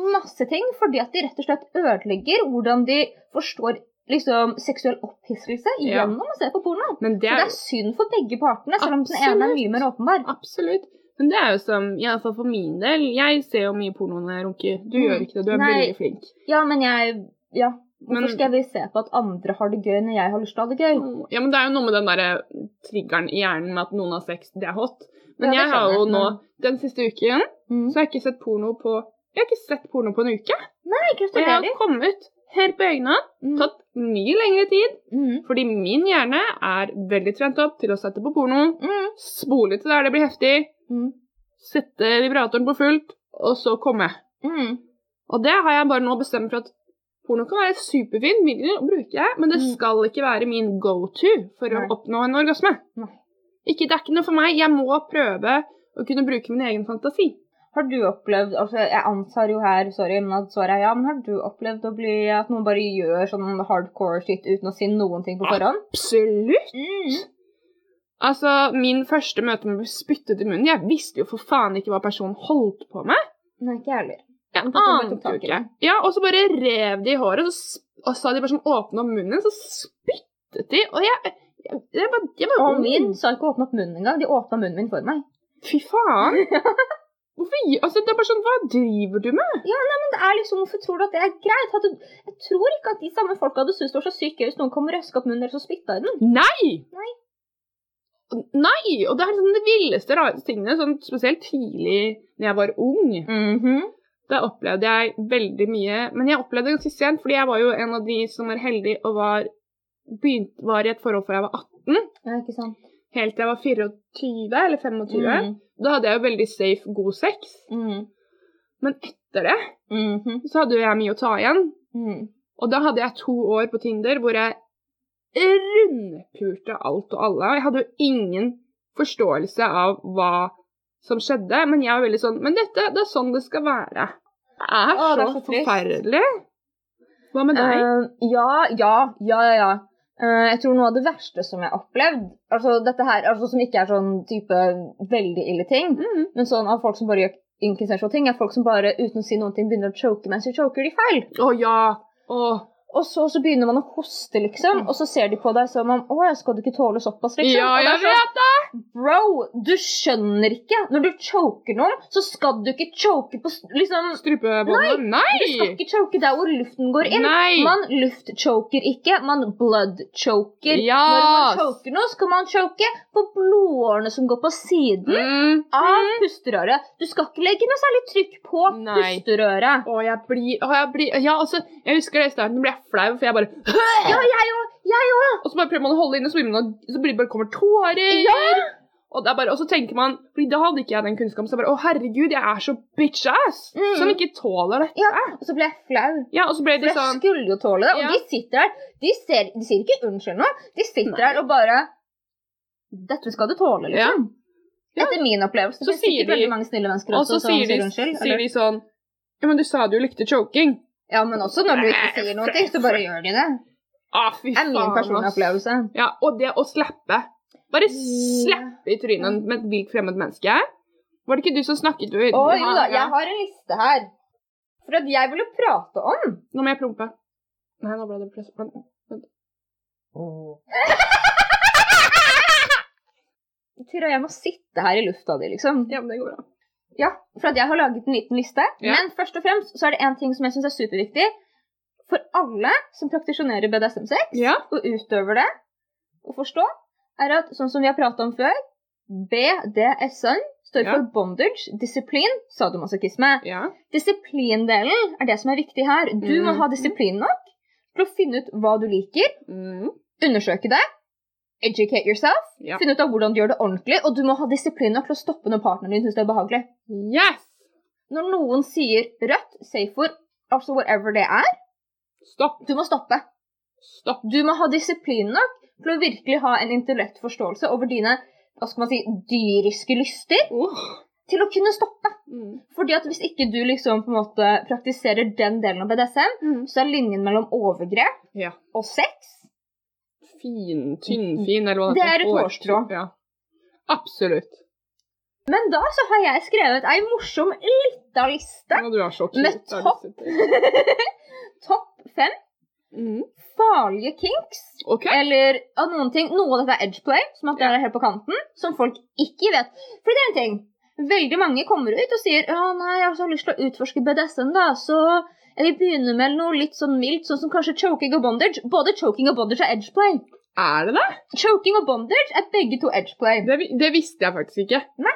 [SPEAKER 1] masse ting fordi at de rett og slett ødelegger hvordan de forstår liksom, seksuell opphisselse
[SPEAKER 2] Ja.
[SPEAKER 1] gjennom å se på porno.
[SPEAKER 2] Men det
[SPEAKER 1] Så det
[SPEAKER 2] er
[SPEAKER 1] er synd for begge partene, selv om den ene er
[SPEAKER 2] Absolutt.
[SPEAKER 1] mye mer åpenbar.
[SPEAKER 2] absolutt Men det er jo som, iallfall for min del Jeg ser jo mye porno når jeg runker. Du
[SPEAKER 1] Mm.
[SPEAKER 2] gjør ikke det. Du er
[SPEAKER 1] Nei.
[SPEAKER 2] veldig flink.
[SPEAKER 1] Ja, men jeg Ja. Hvorfor
[SPEAKER 2] Men-
[SPEAKER 1] skal vi se på at andre har det gøy når jeg har lyst til å ha det gøy?
[SPEAKER 2] Ja, men det er jo noe med den derre triggeren i hjernen med at noen har sex, det er hot. Men
[SPEAKER 1] Ja, det
[SPEAKER 2] jeg har jo
[SPEAKER 1] skjønner jeg,
[SPEAKER 2] nå,
[SPEAKER 1] men-
[SPEAKER 2] den siste uken,
[SPEAKER 1] Mm.
[SPEAKER 2] så har jeg ikke sett porno på Jeg har ikke sett porno på en uke.
[SPEAKER 1] Nei,
[SPEAKER 2] Og jeg har
[SPEAKER 1] gratulerer.
[SPEAKER 2] kommet helt på egne hånd.
[SPEAKER 1] Mm.
[SPEAKER 2] Tatt mye lengre tid.
[SPEAKER 1] Mm.
[SPEAKER 2] Fordi min hjerne er veldig trent opp til å sette på porno.
[SPEAKER 1] Mm.
[SPEAKER 2] Spole til der det blir heftig.
[SPEAKER 1] Mm.
[SPEAKER 2] Sette vibratoren på fullt, og så komme.
[SPEAKER 1] Mm.
[SPEAKER 2] Og det har jeg bare nå bestemt for at porno kan være et superfint middel å bruke, men det
[SPEAKER 1] Mm.
[SPEAKER 2] skal ikke være min go-to for
[SPEAKER 1] Nei.
[SPEAKER 2] å oppnå en orgasme.
[SPEAKER 1] Nei.
[SPEAKER 2] Ikke, det er ikke noe for meg. Jeg må prøve å kunne bruke min egen fantasi.
[SPEAKER 1] Har du opplevd altså Jeg antar jo her, sorry, men at svaret er ja, men har du opplevd å bli at noen bare gjør sånn hardcore shit uten å si noen ting på forhånd?
[SPEAKER 2] Absolutt!
[SPEAKER 1] Ah. Mm.
[SPEAKER 2] Altså, Min første møte med å bli spyttet i munnen Jeg visste jo for faen ikke hva personen holdt på med.
[SPEAKER 1] Nei, ikke jeg heller.
[SPEAKER 2] Jeg
[SPEAKER 1] Men personen bare tok
[SPEAKER 2] ante jo
[SPEAKER 1] tak i
[SPEAKER 2] ikke.
[SPEAKER 1] den.
[SPEAKER 2] Ja, Og så bare rev de i håret, og så, s- og så hadde de bare sånn åpna munnen, så spyttet de. Og jeg, jeg, jeg, bare, jeg bare
[SPEAKER 1] Og min sa ikke å åpne opp munnen engang. De åpna munnen min for meg.
[SPEAKER 2] Fy faen! Hvorfor gi- Altså, det er bare sånn, Hva driver du med?
[SPEAKER 1] Men det er liksom, Hvorfor tror du at det er greit? Hadde, jeg tror ikke at de samme folka hadde syntes det var så sykt gøy hvis noen kom og røska opp munnen deres og spytta i den.
[SPEAKER 2] Nei!
[SPEAKER 1] Nei.
[SPEAKER 2] Nei!
[SPEAKER 1] Mhm.
[SPEAKER 2] Og det er sånn det villeste, rareste tingene, sånn, spesielt tidlig når jeg var ung. Det opplevde jeg veldig mye. Men jeg opplevde det ganske sent, fordi jeg var jo en av de som var heldig og var, begynt, var i et forhold fra jeg var 18,
[SPEAKER 1] Ja, ikke sant?
[SPEAKER 2] helt til jeg var 24 eller 25.
[SPEAKER 1] Mm.
[SPEAKER 2] Da hadde jeg jo veldig safe, god sex.
[SPEAKER 1] Mm.
[SPEAKER 2] Men etter det
[SPEAKER 1] Mhm.
[SPEAKER 2] så hadde jo jeg mye å ta igjen.
[SPEAKER 1] Mm.
[SPEAKER 2] Og da hadde jeg to år på Tinder hvor jeg rundpulte alt og alle. Og jeg hadde jo ingen forståelse av hva som skjedde. Men jeg var veldig sånn Men dette, det er sånn det skal være. Det er,
[SPEAKER 1] Å, det er
[SPEAKER 2] så
[SPEAKER 1] så trist.
[SPEAKER 2] forferdelig. Hva med deg?
[SPEAKER 1] Eh, ja, ja, ja, ja. ja. Eh, jeg tror noe av det verste som jeg har opplevd, altså dette her, altså som ikke er sånn type veldig ille ting,
[SPEAKER 2] Mm.
[SPEAKER 1] men sånn av folk som bare gjør inkonsensuelle ting, er folk som bare uten å si noen ting begynner å choke mens de choker de feil.
[SPEAKER 2] Å ja. Å.
[SPEAKER 1] Og så, så begynner man å hoste, liksom, og så ser de på deg som om Å, skal du ikke tåle såpass, liksom?
[SPEAKER 2] Mm. Ja,
[SPEAKER 1] Og det er
[SPEAKER 2] jeg
[SPEAKER 1] sånn,
[SPEAKER 2] vet det!
[SPEAKER 1] Bro, du skjønner ikke. Når du choker noen, så skal du ikke choke på s- liksom,
[SPEAKER 2] Strupebåndet? Nei!
[SPEAKER 1] Du skal ikke choke der hvor luften går inn.
[SPEAKER 2] Nei!
[SPEAKER 1] Man luftchoker ikke, man bloodchoker.
[SPEAKER 2] Ja!
[SPEAKER 1] Når man choker noe, skal man choke på blodårene som går på siden
[SPEAKER 2] Mm.
[SPEAKER 1] av pusterøret. Du skal ikke legge noe særlig trykk på
[SPEAKER 2] Nei.
[SPEAKER 1] pusterøret.
[SPEAKER 2] Å, jeg blir, å, jeg blir Ja, altså, jeg husker det i starten, da ble jeg flau, for jeg bare
[SPEAKER 1] Ja, jeg òg. Jeg òg.
[SPEAKER 2] Og så bare prøver man å holde inne, så blir, man, så blir det bare kommer tårer.
[SPEAKER 1] Ja.
[SPEAKER 2] Og, det er bare, og så tenker man fordi da hadde ikke jeg den kunnskapen. Så jeg bare Å, herregud, jeg er så bitch-ass!
[SPEAKER 1] Mm.
[SPEAKER 2] Som ikke tåler dette.
[SPEAKER 1] Ja, og så ble jeg flau.
[SPEAKER 2] Ja, og så ble
[SPEAKER 1] For
[SPEAKER 2] det
[SPEAKER 1] jeg
[SPEAKER 2] sånn
[SPEAKER 1] skulle jo tåle det. Og
[SPEAKER 2] Ja.
[SPEAKER 1] de sitter her. De, ser, de sier ikke unnskyld nå. De sitter
[SPEAKER 2] Nei.
[SPEAKER 1] her og bare Dette skal du tåle,
[SPEAKER 2] ja.
[SPEAKER 1] liksom.
[SPEAKER 2] Ja.
[SPEAKER 1] Etter min opplevelse.
[SPEAKER 2] Så
[SPEAKER 1] Det finnes
[SPEAKER 2] sier
[SPEAKER 1] sikkert
[SPEAKER 2] de-
[SPEAKER 1] veldig mange snille mennesker
[SPEAKER 2] Og
[SPEAKER 1] også
[SPEAKER 2] så
[SPEAKER 1] som
[SPEAKER 2] sier de,
[SPEAKER 1] unnskyld.
[SPEAKER 2] sier
[SPEAKER 1] eller?
[SPEAKER 2] de sånn Ja, men du sa du likte choking.
[SPEAKER 1] Ja, men også når du ikke sier noe, så bare gjør de det.
[SPEAKER 2] Å, Ah, fy
[SPEAKER 1] Det er
[SPEAKER 2] faen.
[SPEAKER 1] min personlige
[SPEAKER 2] ass.
[SPEAKER 1] opplevelse.
[SPEAKER 2] Ja, og det å slappe. Bare slappe i trynet med et vilt fremmed menneske. Var det ikke du som snakket? Du,
[SPEAKER 1] Å jo da,
[SPEAKER 2] Ja.
[SPEAKER 1] jeg har en liste her. For at jeg ville prate om
[SPEAKER 2] Nå må jeg prompe. Nei, nå ble det press. Men, men.
[SPEAKER 1] Tyra, jeg må sitte her i lufta di, liksom.
[SPEAKER 2] Ja, men det går bra.
[SPEAKER 1] Ja, For at jeg har laget en liten liste.
[SPEAKER 2] Ja.
[SPEAKER 1] Men først og fremst så er det én ting som jeg syns er superviktig. For alle som praktisjonerer BDSM-sex
[SPEAKER 2] Ja.
[SPEAKER 1] og utøver det, å forstå, er at sånn som vi har prata om før, BDSM står
[SPEAKER 2] Ja.
[SPEAKER 1] for bondage, disiplin, sadomasochisme.
[SPEAKER 2] ja.
[SPEAKER 1] Disiplindelen er det som er viktig her. Du må
[SPEAKER 2] Mhm.
[SPEAKER 1] ha disiplin nok til å finne ut hva du liker,
[SPEAKER 2] Mm.
[SPEAKER 1] undersøke det, educate yourself,
[SPEAKER 2] Ja.
[SPEAKER 1] finne ut av hvordan du gjør det ordentlig, og du må ha disiplin nok til å stoppe når partneren din syns det er behagelig.
[SPEAKER 2] Yes!
[SPEAKER 1] Når noen sier rødt, safe word, altså whatever det er,
[SPEAKER 2] Stopp.
[SPEAKER 1] du må stoppe.
[SPEAKER 2] Stopp.
[SPEAKER 1] Du må ha disiplin nok til å virkelig ha en intellekt forståelse over dine hva skal man si, dyriske lyster
[SPEAKER 2] Oh.
[SPEAKER 1] til å kunne stoppe.
[SPEAKER 2] Mm.
[SPEAKER 1] Fordi at hvis ikke du liksom på en måte praktiserer den delen av BDSM,
[SPEAKER 2] Mm.
[SPEAKER 1] så er linjen mellom overgrep
[SPEAKER 2] Ja.
[SPEAKER 1] og sex
[SPEAKER 2] Fin, tynnfin, eller hva
[SPEAKER 1] Mm. Det
[SPEAKER 2] heter.
[SPEAKER 1] er et hårstrå.
[SPEAKER 2] Ja. Absolutt.
[SPEAKER 1] Men da så har jeg skrevet ei morsom lita liste.
[SPEAKER 2] Og du er så cute.
[SPEAKER 1] Med
[SPEAKER 2] der du
[SPEAKER 1] topp.
[SPEAKER 2] sitter.
[SPEAKER 1] Topp fem
[SPEAKER 2] Mm.
[SPEAKER 1] farlige kinks.
[SPEAKER 2] OK.
[SPEAKER 1] Eller av noen ting. Noe av dette er edgeplay, som at det er helt på kanten, som folk ikke vet. For det er en ting. Veldig mange kommer ut og sier «Ja, nei, jeg har lyst til å utforske BDSM, da, så jeg vil begynne med noe litt sånn mildt, sånn som kanskje choking og bondage. Både choking og bondage er edgeplay.
[SPEAKER 2] Er det det?
[SPEAKER 1] Choking og bondage er begge to edgeplay.
[SPEAKER 2] det? vi- Det visste jeg faktisk ikke.
[SPEAKER 1] Nei.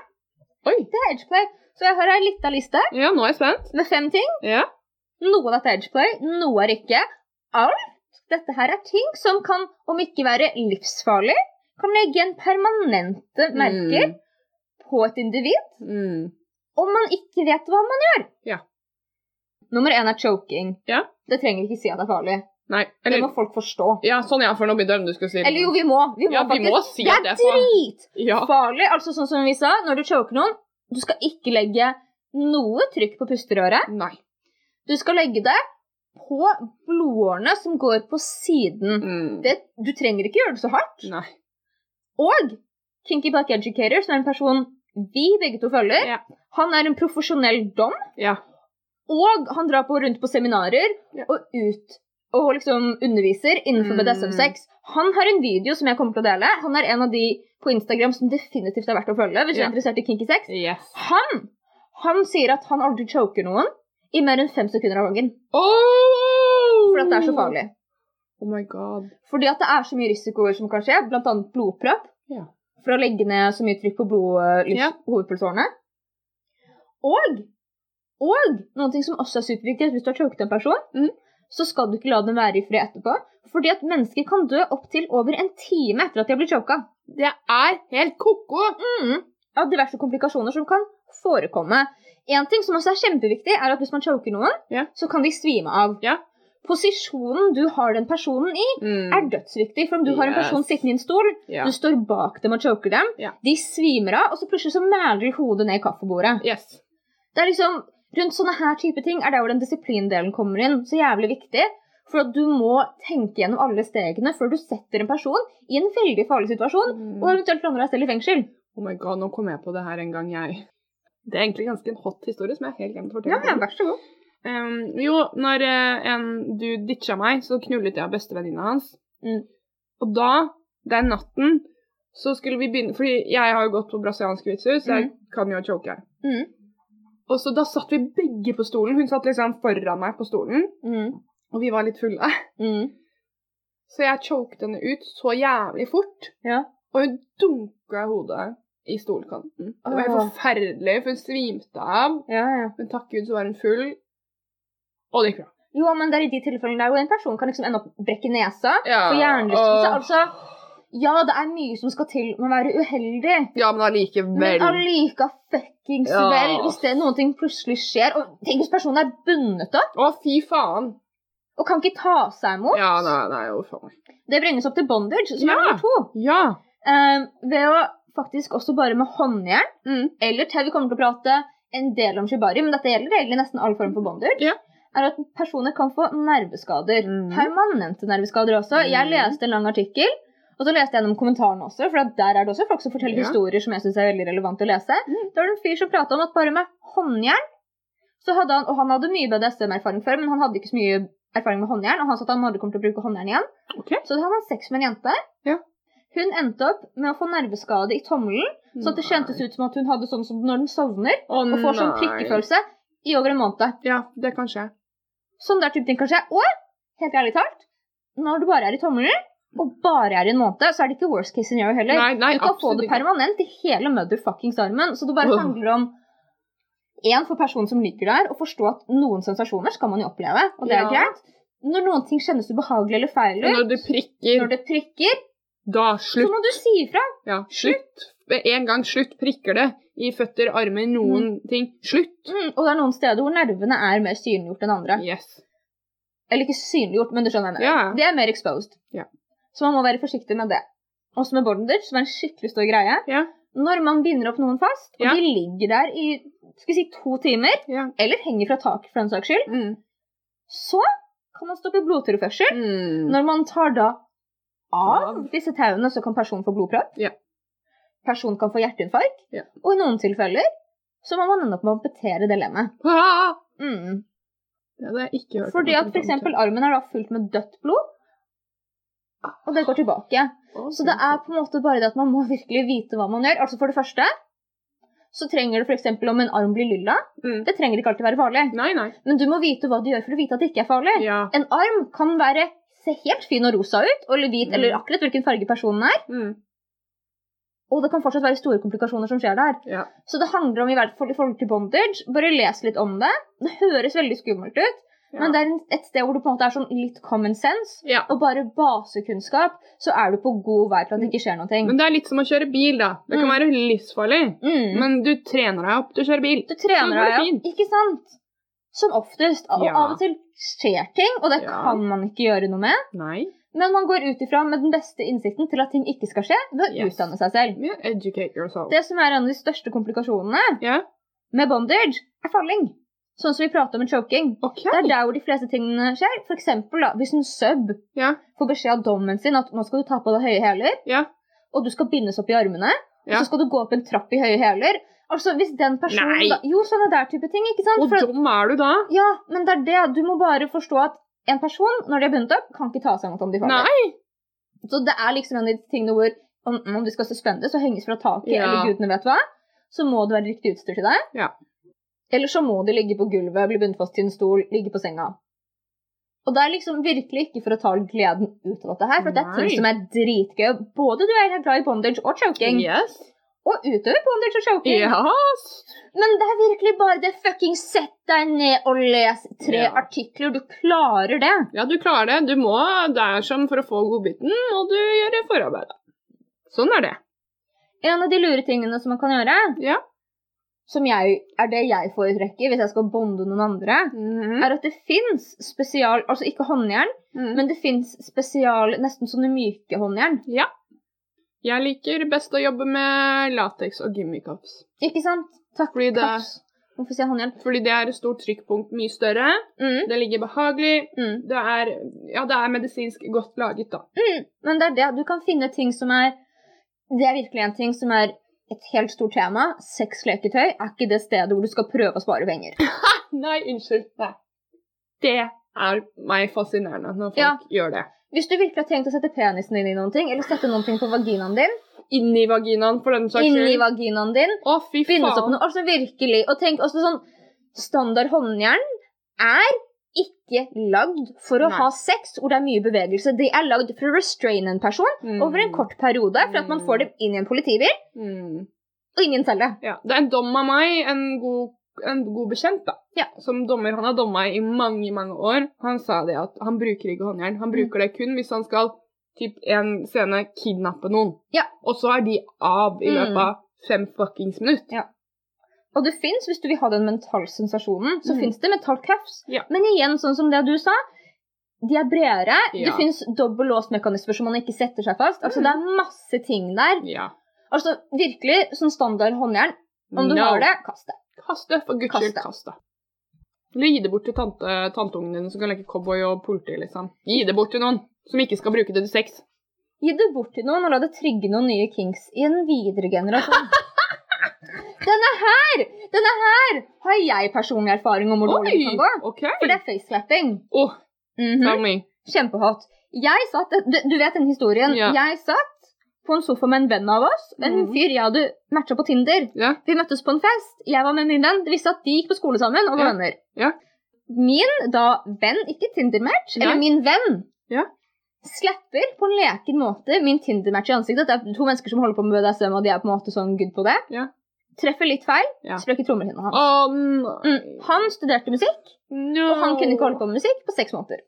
[SPEAKER 2] Oi.
[SPEAKER 1] Det er edgeplay. Så jeg har ei lita liste
[SPEAKER 2] Ja, nå er jeg spent.
[SPEAKER 1] med fem ting.
[SPEAKER 2] Ja.
[SPEAKER 1] Noe av dette er edgeplay, noe er ikke. Alt dette her er ting som kan, om ikke være livsfarlig, kan legge igjen permanente merker på et individ
[SPEAKER 2] Mm.
[SPEAKER 1] om man ikke vet hva man gjør.
[SPEAKER 2] Ja.
[SPEAKER 1] Nummer én er choking.
[SPEAKER 2] Ja.
[SPEAKER 1] Det trenger vi ikke si at er farlig.
[SPEAKER 2] Nei,
[SPEAKER 1] Det
[SPEAKER 2] eller
[SPEAKER 1] må folk forstå.
[SPEAKER 2] Ja, sånn ja, for nå begynte jeg om du skulle si det.
[SPEAKER 1] Eller jo, vi må. Vi må
[SPEAKER 2] Ja, vi må si at
[SPEAKER 1] det er
[SPEAKER 2] det er fa-
[SPEAKER 1] dritfarlig.
[SPEAKER 2] Ja.
[SPEAKER 1] Altså sånn som vi sa, når du choker noen, du skal ikke legge noe trykk på pusterøret.
[SPEAKER 2] Nei.
[SPEAKER 1] Du skal legge det på blodårene som går på siden.
[SPEAKER 2] Mm.
[SPEAKER 1] Det, du trenger ikke gjøre det så hardt.
[SPEAKER 2] Nei.
[SPEAKER 1] Og Kinky Black Educator, som er en person vi begge to følger,
[SPEAKER 2] Ja.
[SPEAKER 1] han er en profesjonell dom,
[SPEAKER 2] Ja.
[SPEAKER 1] og han drar på rundt på seminarer
[SPEAKER 2] Ja.
[SPEAKER 1] og ut og liksom underviser innenfor
[SPEAKER 2] Mm.
[SPEAKER 1] BDSM-sex. Han har en video som jeg kommer til å dele. Han er en av de på Instagram som definitivt er verdt å følge hvis du
[SPEAKER 2] Ja.
[SPEAKER 1] er interessert i kinky sex.
[SPEAKER 2] Yes.
[SPEAKER 1] Han, han sier at han aldri choker noen i mer enn fem sekunder av gangen.
[SPEAKER 2] Oh!
[SPEAKER 1] For at det er så farlig.
[SPEAKER 2] Oh my god.
[SPEAKER 1] Fordi at det er så mye risikoer som kan skje, bl.a. blodpropp.
[SPEAKER 2] Ja.
[SPEAKER 1] For å legge ned så mye trykk på blod, lys,
[SPEAKER 2] Ja.
[SPEAKER 1] hovedpulsårene. Og Og noen ting som også er superviktig, er at hvis du har choket en person,
[SPEAKER 2] Mhm.
[SPEAKER 1] så skal du ikke la dem være i fred etterpå. Fordi at mennesker kan dø opptil over en time etter at de har blitt choka.
[SPEAKER 2] Det er helt ko-ko!
[SPEAKER 1] Mm. Av diverse komplikasjoner som kan forekomme. En ting som også er kjempeviktig, er at hvis man choker noen,
[SPEAKER 2] Ja.
[SPEAKER 1] så kan de svime av.
[SPEAKER 2] Ja.
[SPEAKER 1] Posisjonen du har den personen i, er dødsviktig. For om du har en person
[SPEAKER 2] Mm. Yes.
[SPEAKER 1] sittende i en stol,
[SPEAKER 2] Ja.
[SPEAKER 1] du står bak dem og choker dem,
[SPEAKER 2] Ja.
[SPEAKER 1] de svimer av, og så plutselig så mæler de hodet ned i kaffebordet.
[SPEAKER 2] Yes.
[SPEAKER 1] Det er liksom, Rundt sånne her type ting er der hvor den disiplindelen kommer inn. Så jævlig viktig. For at du må tenke gjennom alle stegene før du setter en person i en veldig farlig situasjon, og eventuelt lander deg selv i fengsel.
[SPEAKER 2] Mm. Oh my god, nå kom jeg på det her en gang, jeg. Det er egentlig ganske en hot historie som jeg helt glemte å fortelle.
[SPEAKER 1] Ja, ja, vær så god.
[SPEAKER 2] Ehm, jo, når eh, en dude ditcha meg, så knullet jeg bestevenninna hans.
[SPEAKER 1] Mm.
[SPEAKER 2] Og da, den natten, så skulle vi begynne Fordi jeg har jo gått på brasiliansk vitshus, så jeg kan jo choke.
[SPEAKER 1] Mm.
[SPEAKER 2] Og så da satt vi begge på stolen. Hun satt liksom foran meg på stolen,
[SPEAKER 1] Mm.
[SPEAKER 2] og vi var litt fulle.
[SPEAKER 1] Mm.
[SPEAKER 2] Så jeg choket henne ut så jævlig fort,
[SPEAKER 1] Ja.
[SPEAKER 2] og hun dunka hodet i stolkanten. Det var helt
[SPEAKER 1] Åh.
[SPEAKER 2] forferdelig, for hun svimte av.
[SPEAKER 1] Ja, ja.
[SPEAKER 2] Men takk Gud så var hun full, og det gikk bra.
[SPEAKER 1] Jo, men det er i de tilfellene der hvor en person kan liksom ende opp brekke nesa.
[SPEAKER 2] Ja,
[SPEAKER 1] For hjernerystelse.
[SPEAKER 2] åh.
[SPEAKER 1] Altså, ja, det er mye som skal til med å være uheldig,
[SPEAKER 2] Ja, men
[SPEAKER 1] men
[SPEAKER 2] allikevel.
[SPEAKER 1] allika fuckings
[SPEAKER 2] Ja.
[SPEAKER 1] vel hvis det noen ting plutselig skjer. Og tenk hvis personen er bundet opp
[SPEAKER 2] Å, fy faen.
[SPEAKER 1] og kan ikke ta seg imot.
[SPEAKER 2] Ja, nei, nei, jo, faen meg.
[SPEAKER 1] Det bringes opp til bondage, som
[SPEAKER 2] Ja.
[SPEAKER 1] er nummer to.
[SPEAKER 2] Ja.
[SPEAKER 1] Eh, ved å faktisk også bare med håndjern
[SPEAKER 2] Mm.
[SPEAKER 1] eller tau Vi kommer til å prate en del om shibari, men dette gjelder egentlig nesten all form for bondage.
[SPEAKER 2] Ja.
[SPEAKER 1] Er at personer kan få nerveskader.
[SPEAKER 2] Mhm.
[SPEAKER 1] Permanente nerveskader også. Jeg
[SPEAKER 2] Mhm.
[SPEAKER 1] leste en lang artikkel, og så leste jeg gjennom kommentarene også, for at der er det også folk som forteller
[SPEAKER 2] Ja.
[SPEAKER 1] historier som jeg syns er veldig relevant å lese.
[SPEAKER 2] Mhm.
[SPEAKER 1] Da var det en fyr som prata om at bare med håndjern så hadde han, Og han hadde mye BDSM-erfaring før, men han hadde ikke så mye erfaring med håndjern, og han sa at han aldri kommer til å bruke håndjern igjen.
[SPEAKER 2] Ok.
[SPEAKER 1] Så hadde han sex med en jente.
[SPEAKER 2] Ja.
[SPEAKER 1] Hun endte opp med å få nerveskade i tommelen. Så at det kjentes ut som at hun hadde sånn som når den sovner
[SPEAKER 2] Mm. Å,
[SPEAKER 1] og får sånn
[SPEAKER 2] nei.
[SPEAKER 1] prikkefølelse i over en måned.
[SPEAKER 2] Ja, det kan skje.
[SPEAKER 1] Sånn der type ting kan skje. Og helt ærlig talt, når du bare er i tommelen og bare er i en måned, så er det ikke worst case scenario heller.
[SPEAKER 2] Nei, nei,
[SPEAKER 1] du kan få
[SPEAKER 2] absolutt
[SPEAKER 1] det
[SPEAKER 2] ikke.
[SPEAKER 1] permanent i hele motherfuckings armen. Så det bare
[SPEAKER 2] Åh.
[SPEAKER 1] handler om én for personen som ligger der, å forstå at noen sensasjoner skal man jo oppleve, og det er
[SPEAKER 2] Ja.
[SPEAKER 1] greit. Når noen ting kjennes ubehagelig eller feil
[SPEAKER 2] Men
[SPEAKER 1] ut,
[SPEAKER 2] Når du prikker,
[SPEAKER 1] når det prikker,
[SPEAKER 2] da
[SPEAKER 1] så
[SPEAKER 2] slutt.
[SPEAKER 1] må du si ifra.
[SPEAKER 2] Ja, slutt. Med en gang slutt prikker det i føtter, armer, noen ting. Slutt.
[SPEAKER 1] Mm, og det er noen steder hvor nervene er mer synliggjort enn andre.
[SPEAKER 2] Yes.
[SPEAKER 1] Eller ikke synliggjort, men du skjønner hva jeg
[SPEAKER 2] Ja.
[SPEAKER 1] mener. Det er mer exposed.
[SPEAKER 2] Ja.
[SPEAKER 1] Så man må være forsiktig med det. Også med bondage, som er en skikkelig stor greie.
[SPEAKER 2] Ja.
[SPEAKER 1] Når man binder opp noen fast, og
[SPEAKER 2] Ja.
[SPEAKER 1] de ligger der i skal vi si, to timer,
[SPEAKER 2] Ja.
[SPEAKER 1] eller henger fra taket for den saks skyld,
[SPEAKER 2] Mm.
[SPEAKER 1] så kan man stoppe blodtilførsel.
[SPEAKER 2] Mm.
[SPEAKER 1] Når man tar da av
[SPEAKER 2] Av.
[SPEAKER 1] disse tauene, så kan personen få blodpropp.
[SPEAKER 2] Ja.
[SPEAKER 1] Personen kan få hjerteinfarkt.
[SPEAKER 2] Ja.
[SPEAKER 1] Og i noen tilfeller så må man ende opp med å amputere det lemmet.
[SPEAKER 2] Ah!
[SPEAKER 1] Mm.
[SPEAKER 2] Ja, det har jeg ikke hørt.
[SPEAKER 1] Fordi at for eksempel armen er da fullt med dødt blod, og det går tilbake. Så det er på en måte bare det at man må virkelig vite hva man gjør. Altså For det første så trenger du f.eks. om en arm blir lilla.
[SPEAKER 2] Mm.
[SPEAKER 1] Det trenger ikke alltid være farlig,
[SPEAKER 2] Nei, nei.
[SPEAKER 1] men du må vite hva du gjør for å vite at det ikke er farlig.
[SPEAKER 2] Ja.
[SPEAKER 1] En arm kan være se helt fin og rosa ut, eller hvit,
[SPEAKER 2] Mm.
[SPEAKER 1] eller akkurat hvilken farge personen er,
[SPEAKER 2] Mm.
[SPEAKER 1] og det kan fortsatt være store komplikasjoner som skjer der.
[SPEAKER 2] Ja.
[SPEAKER 1] Så det handler om i hvert fall i forhold til bondage. Bare les litt om det. Det høres veldig skummelt ut,
[SPEAKER 2] Ja.
[SPEAKER 1] men det er en- et sted hvor du på en måte er sånn litt common sense.
[SPEAKER 2] ja.
[SPEAKER 1] og bare basekunnskap, så er du på god vei til at det ikke skjer noe.
[SPEAKER 2] Men det er litt som å kjøre bil, da. Det kan
[SPEAKER 1] Mm.
[SPEAKER 2] være livsfarlig,
[SPEAKER 1] Mm.
[SPEAKER 2] men du trener deg opp til å kjøre bil.
[SPEAKER 1] du
[SPEAKER 2] så
[SPEAKER 1] trener
[SPEAKER 2] går det
[SPEAKER 1] deg, ja.
[SPEAKER 2] fint.
[SPEAKER 1] Ikke sant? Som oftest. Og
[SPEAKER 2] Ja.
[SPEAKER 1] av og til skjer ting, og det
[SPEAKER 2] Ja.
[SPEAKER 1] kan man ikke gjøre noe med.
[SPEAKER 2] Nei.
[SPEAKER 1] Men man går ut ifra med den beste innsikten til at ting ikke skal skje, ved å
[SPEAKER 2] Yes.
[SPEAKER 1] utdanne seg selv.
[SPEAKER 2] Yeah, educate yourself.
[SPEAKER 1] Det som er en av de største komplikasjonene
[SPEAKER 2] Ja,
[SPEAKER 1] med bondage, er falling. Sånn som vi prater om med choking.
[SPEAKER 2] OK.
[SPEAKER 1] Det er der hvor de fleste tingene skjer. For eksempel, da, hvis en sub
[SPEAKER 2] Ja,
[SPEAKER 1] får beskjed av dommen sin at nå skal du ta på deg høye hæler,
[SPEAKER 2] ja.
[SPEAKER 1] og du skal bindes opp i armene, og
[SPEAKER 2] Ja.
[SPEAKER 1] så skal du gå opp en trapp i høye hæler. Altså, hvis den personen
[SPEAKER 2] Nei.
[SPEAKER 1] da, Jo, sånne der type ting, ikke sant?
[SPEAKER 2] Og
[SPEAKER 1] For,
[SPEAKER 2] dum er du da?
[SPEAKER 1] ja, men det er det. Du må bare forstå at en person, når de er bundet opp, kan ikke ta seg imot om de faller.
[SPEAKER 2] Nei.
[SPEAKER 1] Så det er liksom en av de tingene hvor om, om du skal suspendes og henges fra taket,
[SPEAKER 2] Ja.
[SPEAKER 1] eller gudene vet hva, så må det være riktig utstyr til deg.
[SPEAKER 2] Ja.
[SPEAKER 1] Eller så må de ligge på gulvet, bli bundet fast til en stol, ligge på senga. Og det er liksom virkelig ikke for å ta gleden ut av dette her, for det er ting
[SPEAKER 2] Nei.
[SPEAKER 1] som er dritgøy. Både du er helt glad i bondage og choking.
[SPEAKER 2] Yes.
[SPEAKER 1] Og utover på Under the Choking.
[SPEAKER 2] Ja!
[SPEAKER 1] Men det er virkelig bare det fucking sett deg ned og les tre
[SPEAKER 2] Ja.
[SPEAKER 1] artikler. Du klarer det.
[SPEAKER 2] ja, du klarer det. Du må Det er som for å få godbiten, og du gjør forarbeidet. Sånn er det.
[SPEAKER 1] En av de lure tingene som man kan gjøre,
[SPEAKER 2] Ja.
[SPEAKER 1] som jeg, er det jeg foretrekker hvis jeg skal bonde noen andre,
[SPEAKER 2] Mm.
[SPEAKER 1] er at det fins spesial Altså ikke håndjern,
[SPEAKER 2] Mhm.
[SPEAKER 1] men det fins spesial nesten sånne myke håndjern.
[SPEAKER 2] Ja. Jeg liker best å jobbe med lateks og gummicups.
[SPEAKER 1] Ikke sant? Takk.
[SPEAKER 2] Fordi det,
[SPEAKER 1] Kaps. Hvorfor sier jeg håndjern?
[SPEAKER 2] fordi det er et stort trykkpunkt, mye større.
[SPEAKER 1] Mm.
[SPEAKER 2] Det ligger behagelig.
[SPEAKER 1] Mm.
[SPEAKER 2] Det er, ja, det er medisinsk godt laget, da.
[SPEAKER 1] Mm, men det er det. Du kan finne ting som er Det er virkelig en ting som er et helt stort tema. Sexleketøy er ikke det stedet hvor du skal prøve å spare penger.
[SPEAKER 2] Nei, unnskyld. Nei. Det er meg fascinerende når folk
[SPEAKER 1] Ja.
[SPEAKER 2] gjør det.
[SPEAKER 1] Hvis du virkelig har tenkt å sette penisen din i noen ting, eller sette noen ting på vaginaen din,
[SPEAKER 2] Inni vaginaen, for den saks
[SPEAKER 1] inni
[SPEAKER 2] skyld.
[SPEAKER 1] vaginaen din,
[SPEAKER 2] Å, fy
[SPEAKER 1] bindes opp
[SPEAKER 2] faen.
[SPEAKER 1] noe Altså virkelig. Og tenk også sånn Standard håndjern er ikke lagd for å
[SPEAKER 2] Nei.
[SPEAKER 1] ha sex hvor det er mye bevegelse. De er lagd for å restraine en person
[SPEAKER 2] Mm.
[SPEAKER 1] over en kort periode, for at man får dem inn i en politibil
[SPEAKER 2] Mm.
[SPEAKER 1] og ingen selger.
[SPEAKER 2] Ja, det er en dom av meg, en god, en god bekjent, da.
[SPEAKER 1] Ja.
[SPEAKER 2] Som dommer. Han har domma i mange, mange år. Han sa det at han bruker ikke håndjern. Han bruker det kun hvis han skal, typ en scene, kidnappe noen.
[SPEAKER 1] Ja.
[SPEAKER 2] Og så er de av i
[SPEAKER 1] Mm.
[SPEAKER 2] løpet av fem fuckings minutt.
[SPEAKER 1] Ja. Og det fins, hvis du vil ha den mentalsensasjonen, så
[SPEAKER 2] Mhm.
[SPEAKER 1] finnes fins det metallcuffs.
[SPEAKER 2] Ja.
[SPEAKER 1] Men igjen, sånn som det du sa, de er bredere. Det
[SPEAKER 2] Ja. Mm.
[SPEAKER 1] fins dobbel låsmekanismer som man ikke setter seg fast. Altså, Det er masse ting der.
[SPEAKER 2] Ja.
[SPEAKER 1] Altså, Virkelig, sånn standard håndjern. Om du
[SPEAKER 2] No.
[SPEAKER 1] har det, kast det.
[SPEAKER 2] Kast det, for guds
[SPEAKER 1] Kast
[SPEAKER 2] skyld.
[SPEAKER 1] det.
[SPEAKER 2] Kast det. Eller gi det bort til tante, tanteungen din som kan leke cowboy og politi, liksom. Gi det bort til noen som ikke skal bruke det til sex.
[SPEAKER 1] Gi det bort til noen og la det trigge noen nye kinks i en videre generasjon. denne her! Denne her har jeg personlig erfaring om hvor dårlig det kan gå.
[SPEAKER 2] OK.
[SPEAKER 1] For det er faceslapping.
[SPEAKER 2] Åh,
[SPEAKER 1] Mhm.
[SPEAKER 2] tell me.
[SPEAKER 1] Kjempehot. Jeg satt, du, du vet den historien.
[SPEAKER 2] Ja.
[SPEAKER 1] Jeg satt på en sofa med en venn av oss. En
[SPEAKER 2] Mhm.
[SPEAKER 1] fyr jeg hadde matcha på Tinder.
[SPEAKER 2] Ja.
[SPEAKER 1] Vi møttes på en fest. Jeg var med min venn. Det visste at de gikk på skole sammen og var
[SPEAKER 2] Ja.
[SPEAKER 1] venner.
[SPEAKER 2] Ja.
[SPEAKER 1] Min da venn, ikke Tinder-match,
[SPEAKER 2] Nei.
[SPEAKER 1] eller min venn,
[SPEAKER 2] Ja.
[SPEAKER 1] slapper på en leken måte min Tinder-match i ansiktet. Det er to mennesker som holder på med BDSM, og de er på en måte sånn good på det.
[SPEAKER 2] Ja.
[SPEAKER 1] Treffer litt feil,
[SPEAKER 2] Ja.
[SPEAKER 1] sprekker trommehinna hans.
[SPEAKER 2] Åh, nei.
[SPEAKER 1] Mm. Han studerte musikk.
[SPEAKER 2] No.
[SPEAKER 1] Og han kunne ikke holde på med musikk på seks måneder.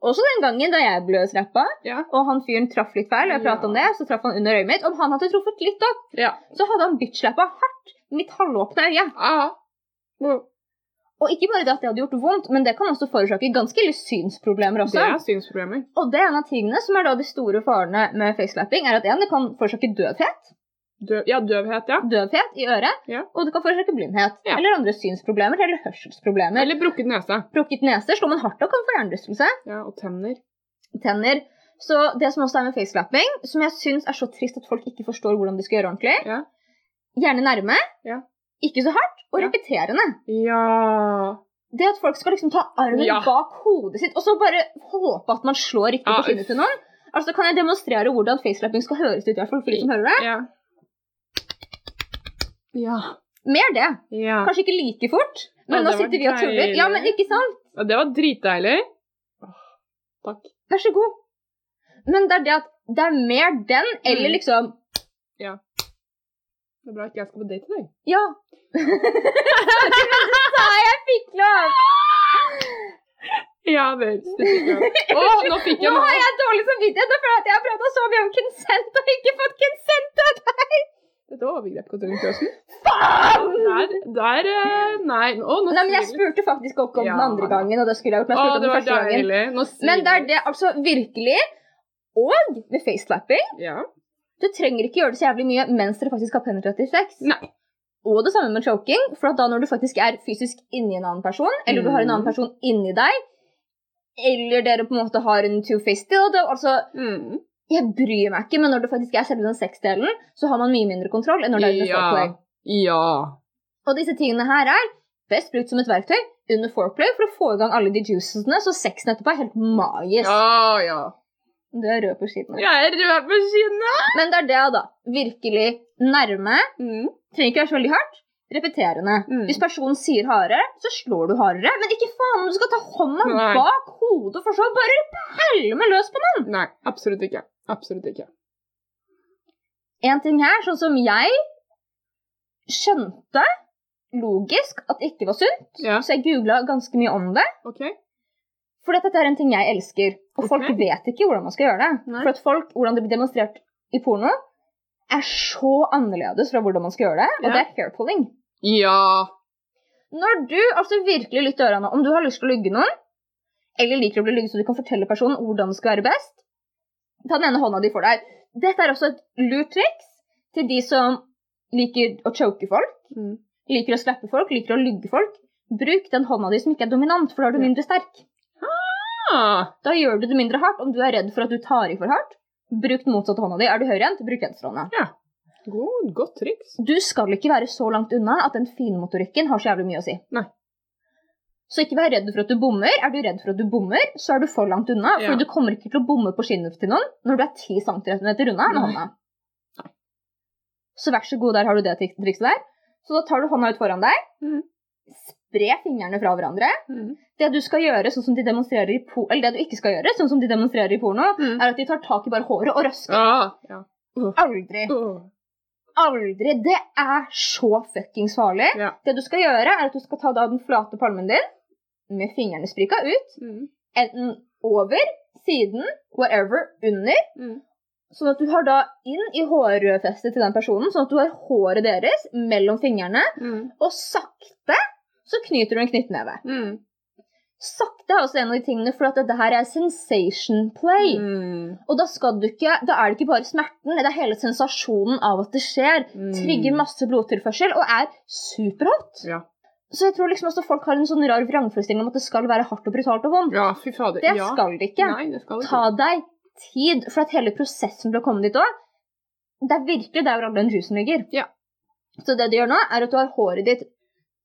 [SPEAKER 1] Også den gangen da jeg ble strappa,
[SPEAKER 2] Ja.
[SPEAKER 1] og han fyren traff litt feil, og jeg pratet
[SPEAKER 2] Ja.
[SPEAKER 1] om det, så traff han under øyet mitt. Om han hadde truffet litt opp,
[SPEAKER 2] Ja.
[SPEAKER 1] så hadde han bitch-slappa hardt mitt halvåpne øye.
[SPEAKER 2] Ah. Mm.
[SPEAKER 1] Og ikke bare det at det hadde gjort vondt, men det kan også forårsake ganske litt synsproblemer
[SPEAKER 2] Det
[SPEAKER 1] også.
[SPEAKER 2] er synsproblemer.
[SPEAKER 1] Og det er en av tingene som er da de store farene med facelapping, er at en, det kan forårsake døvhet.
[SPEAKER 2] Døv, ja, døvhet, ja.
[SPEAKER 1] Døvhet i øret.
[SPEAKER 2] Ja.
[SPEAKER 1] Og det kan forårsake blindhet.
[SPEAKER 2] Ja.
[SPEAKER 1] Eller andre synsproblemer, eller hørselsproblemer.
[SPEAKER 2] Eller brukket nese.
[SPEAKER 1] Brukket nese slår man hardt og kan få hjernerystelse.
[SPEAKER 2] Ja, og tenner.
[SPEAKER 1] tenner. Så det som også er med facelapping, som jeg syns er så trist at folk ikke forstår hvordan de skal gjøre ordentlig,
[SPEAKER 2] Ja.
[SPEAKER 1] gjerne nærme,
[SPEAKER 2] Ja.
[SPEAKER 1] ikke så hardt, og
[SPEAKER 2] Ja.
[SPEAKER 1] repeterende.
[SPEAKER 2] Ja.
[SPEAKER 1] Det at folk skal liksom ta armen
[SPEAKER 2] Ja.
[SPEAKER 1] bak hodet sitt, og så bare håpe at man slår riktig
[SPEAKER 2] Ja,
[SPEAKER 1] på kinnet
[SPEAKER 2] Ah, uff.
[SPEAKER 1] til noen. Altså kan jeg demonstrere hvordan facelapping skal høres ut, i hvert fall for de som hører det.
[SPEAKER 2] Ja. Ja.
[SPEAKER 1] Mer det.
[SPEAKER 2] ja.
[SPEAKER 1] Kanskje ikke like fort, men
[SPEAKER 2] Ja,
[SPEAKER 1] nå
[SPEAKER 2] det var
[SPEAKER 1] sitter vi og tuller.
[SPEAKER 2] deilig.
[SPEAKER 1] Ja, men ikke sant?
[SPEAKER 2] Ja, Det var dritdeilig. Åh, Takk.
[SPEAKER 1] Vær så god. Men det er det at det er mer den, eller
[SPEAKER 2] Mm.
[SPEAKER 1] liksom
[SPEAKER 2] Det er bra ikke jeg skal på date i dag.
[SPEAKER 1] Ja. Men så sa jeg jeg fikk lov!
[SPEAKER 2] Ja vel. Å, nå fikk jeg
[SPEAKER 1] Nå har
[SPEAKER 2] noe.
[SPEAKER 1] jeg dårlig samvittighet nå føler jeg at jeg har prata så mye om konsent og ikke fått konsent.
[SPEAKER 2] Dette var overgrep, Katrine Krøsen.
[SPEAKER 1] Faen!
[SPEAKER 2] Der, der eh, Nei. Å, nå
[SPEAKER 1] Nei, men jeg
[SPEAKER 2] sier-
[SPEAKER 1] spurte faktisk ikke om den
[SPEAKER 2] Ja.
[SPEAKER 1] andre gangen, og det skulle jeg gjort. Men
[SPEAKER 2] Å,
[SPEAKER 1] jeg spurte om
[SPEAKER 2] det
[SPEAKER 1] den
[SPEAKER 2] var
[SPEAKER 1] første gangen.
[SPEAKER 2] deilig. Nå sier
[SPEAKER 1] Men det er det, altså, virkelig. Og med facelapping.
[SPEAKER 2] Ja.
[SPEAKER 1] Du trenger ikke gjøre det så jævlig mye mens dere faktisk har penetrativ sex.
[SPEAKER 2] Nei.
[SPEAKER 1] Og det samme med choking, for at da når du faktisk er fysisk inni en annen person, eller du har en
[SPEAKER 2] Mm.
[SPEAKER 1] annen person inni deg, eller dere på en måte har en two-faced deal, det er altså
[SPEAKER 2] Mm.
[SPEAKER 1] Jeg bryr meg ikke, men når det faktisk er selve den sexdelen, så har man mye mindre kontroll enn når det er under
[SPEAKER 2] Ja.
[SPEAKER 1] foreplay.
[SPEAKER 2] Ja.
[SPEAKER 1] Og disse tingene her er best brukt som et verktøy under foreplay for å få i gang alle de juicesene, så sexen etterpå er helt magisk.
[SPEAKER 2] Ja, ja.
[SPEAKER 1] Du er rød på skiten.
[SPEAKER 2] Jeg er rød på kinnet.
[SPEAKER 1] Men det er det, da. Virkelig nærme.
[SPEAKER 2] Mm.
[SPEAKER 1] Trenger ikke være så veldig hardt. Repeterende.
[SPEAKER 2] Mm.
[SPEAKER 1] Hvis personen sier hardere, så slår du hardere. Men ikke faen om du skal ta hånda
[SPEAKER 2] Nei.
[SPEAKER 1] bak hodet, for så bare pælme løs på noe.
[SPEAKER 2] Nei, absolutt ikke. Absolutt ikke.
[SPEAKER 1] En ting her, sånn som jeg skjønte logisk at det ikke var sunt,
[SPEAKER 2] Ja.
[SPEAKER 1] så jeg googla ganske mye om det.
[SPEAKER 2] OK.
[SPEAKER 1] For dette er en ting jeg elsker, og folk
[SPEAKER 2] Ok.
[SPEAKER 1] vet ikke hvordan man skal gjøre det.
[SPEAKER 2] Nei.
[SPEAKER 1] For at folk, hvordan det blir demonstrert i porno, er så annerledes fra hvordan man skal gjøre det, og
[SPEAKER 2] Ja.
[SPEAKER 1] det er hair pulling.
[SPEAKER 2] Ja.
[SPEAKER 1] Når du altså virkelig lytter ørene om du har lyst til å lugge noen, eller liker å bli lugget så du kan fortelle personen hvordan det skal være best, ta den ene hånda de får deg. Dette er også et lurt triks til de som liker å choke folk,
[SPEAKER 2] Mm.
[SPEAKER 1] liker å slappe folk, liker å lugge folk. Bruk den hånda di som ikke er dominant, for da er du
[SPEAKER 2] Ja.
[SPEAKER 1] mindre sterk.
[SPEAKER 2] Ah.
[SPEAKER 1] Da gjør du det mindre hardt om du er redd for at du tar i for hardt. Bruk den motsatte hånda di. Er du høyrehendt, bruk venstrehånda.
[SPEAKER 2] God, godt triks.
[SPEAKER 1] Du skal ikke være så langt unna at den finmotorikken har så jævlig mye å si.
[SPEAKER 2] Nei.
[SPEAKER 1] Så ikke vær redd for at du bommer. Er du redd for at du bommer, så er du for langt unna.
[SPEAKER 2] Ja.
[SPEAKER 1] For du kommer ikke til å bomme på skinnet til noen når du er 10 cm unna med
[SPEAKER 2] Nei.
[SPEAKER 1] hånda. Så vær så god, der har du det trik- trikset der. Så da tar du hånda ut foran deg.
[SPEAKER 2] Mhm.
[SPEAKER 1] Spre fingrene fra hverandre.
[SPEAKER 2] Mm.
[SPEAKER 1] Det du skal gjøre, sånn som de demonstrerer i po eller det du ikke skal gjøre, sånn som de demonstrerer i porno,
[SPEAKER 2] Mm.
[SPEAKER 1] er at de tar tak i bare håret og røsker.
[SPEAKER 2] Ah. Ja. Mm.
[SPEAKER 1] Aldri.
[SPEAKER 2] Åh.
[SPEAKER 1] Aldri. Det er så fuckings farlig.
[SPEAKER 2] Ja.
[SPEAKER 1] Det du skal gjøre, er at du skal ta da den flate palmen din med fingrene sprika ut,
[SPEAKER 2] Mm.
[SPEAKER 1] enten over, siden, wherever, under,
[SPEAKER 2] Mm.
[SPEAKER 1] sånn at du har da inn i hårfestet til den personen, sånn at du har håret deres mellom fingrene,
[SPEAKER 2] Mm.
[SPEAKER 1] og sakte så knyter du en knyttneve.
[SPEAKER 2] Mm.
[SPEAKER 1] Sakte er også en av de tingene, for at dette her er sensation play.
[SPEAKER 2] Mm.
[SPEAKER 1] Og da, skal du ikke, da er det ikke bare smerten, det er hele sensasjonen av at det skjer.
[SPEAKER 2] Mm.
[SPEAKER 1] Trigger masse blodtilførsel og er superhot.
[SPEAKER 2] Ja.
[SPEAKER 1] Så jeg tror liksom også folk har en sånn rar vrangforestilling om at det skal være hardt og brutalt og vondt.
[SPEAKER 2] Ja, fy fader.
[SPEAKER 1] Det
[SPEAKER 2] ja.
[SPEAKER 1] skal det ikke.
[SPEAKER 2] Nei, det skal det
[SPEAKER 1] Ta
[SPEAKER 2] ikke.
[SPEAKER 1] deg tid, for at hele prosessen for å komme dit òg Det er virkelig der hvor all den rusen ligger.
[SPEAKER 2] Ja.
[SPEAKER 1] Så det du gjør nå, er at du har håret ditt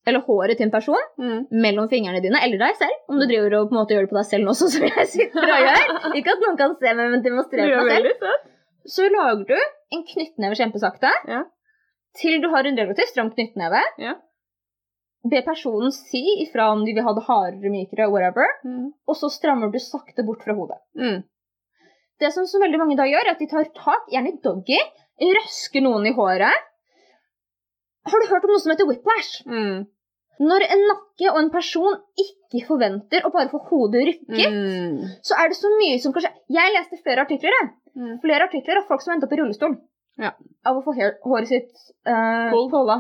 [SPEAKER 1] eller håret til en person
[SPEAKER 2] Mm.
[SPEAKER 1] mellom fingrene dine, eller deg selv, om du driver og på en måte gjør det på deg selv nå, sånn som jeg sitter og gjør. Ikke at noen kan se meg, men
[SPEAKER 2] Det
[SPEAKER 1] demonstrere
[SPEAKER 2] er
[SPEAKER 1] meg selv
[SPEAKER 2] veldig søtt.
[SPEAKER 1] så lager du en knyttneve kjempesakte
[SPEAKER 2] Ja.
[SPEAKER 1] til du har en relativt stram knyttneve.
[SPEAKER 2] Ja.
[SPEAKER 1] Be personen si ifra om de vil ha det hardere, mykere, whatever,
[SPEAKER 2] Mm.
[SPEAKER 1] og så strammer du sakte bort fra hodet.
[SPEAKER 2] Mm.
[SPEAKER 1] Det som så veldig mange da gjør, er at de tar tak, gjerne i doggy, røsker noen i håret. Har du hørt om noe som heter whiplash?
[SPEAKER 2] Mm.
[SPEAKER 1] Når en nakke og en person ikke forventer å bare få hodet rykket,
[SPEAKER 2] Mm.
[SPEAKER 1] så er det så mye som kanskje Jeg leste flere artikler, jeg.
[SPEAKER 2] Mm.
[SPEAKER 1] Flere artikler av folk som endte opp i rullestol
[SPEAKER 2] Ja.
[SPEAKER 1] av å få hair, håret sitt uh,
[SPEAKER 2] Pulled.
[SPEAKER 1] pulla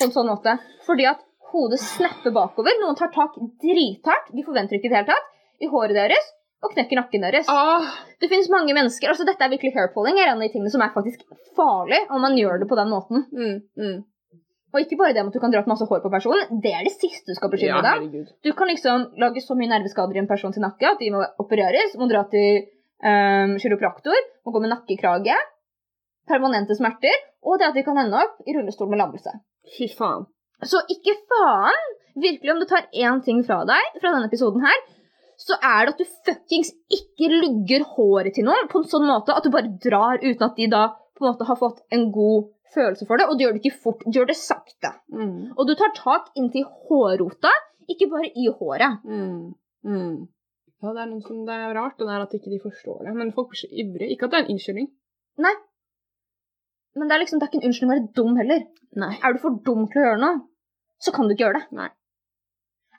[SPEAKER 1] på en sånn måte. Fordi at hodet snapper bakover. Noen tar tak drithardt, de forventer ikke det hele tatt, i håret deres og knekker nakken deres.
[SPEAKER 2] Ah.
[SPEAKER 1] Det finnes mange mennesker altså Dette er virkelig hair pulling. er en av de tingene som er faktisk farlig om man gjør det på den måten.
[SPEAKER 2] Mm. Mm.
[SPEAKER 1] Og ikke bare det med at du kan dra ut masse hår på personen, det er det siste du skal
[SPEAKER 2] Ja,
[SPEAKER 1] bekymre deg om.
[SPEAKER 2] herregud.
[SPEAKER 1] Du kan liksom lage så mye nerveskader i en person til nakke at de må opereres, må dra til um, kiropraktor, må gå med nakkekrage, permanente smerter, og det at de kan ende opp i rullestol med lammelse.
[SPEAKER 2] Fy faen.
[SPEAKER 1] Så ikke faen! Virkelig, om du tar én ting fra deg fra denne episoden her, så er det at du fuckings ikke lugger håret til noen på en sånn måte at du bare drar uten at de da på en måte har fått en god følelse for det, og du gjør det ikke fort, du gjør det sakte.
[SPEAKER 2] Mm.
[SPEAKER 1] Og du tar tak inntil hårrota, ikke bare i håret.
[SPEAKER 2] Mm. Mm. Ja, det er noe som det er rart, det der at ikke de forstår det. Men folk blir så ivrige. Ikke at det er en unnskyldning.
[SPEAKER 1] Men det er liksom, det er ikke en unnskyldning å være dum heller.
[SPEAKER 2] Nei.
[SPEAKER 1] Er du for dum til å gjøre noe, så kan du ikke gjøre det.
[SPEAKER 2] Nei.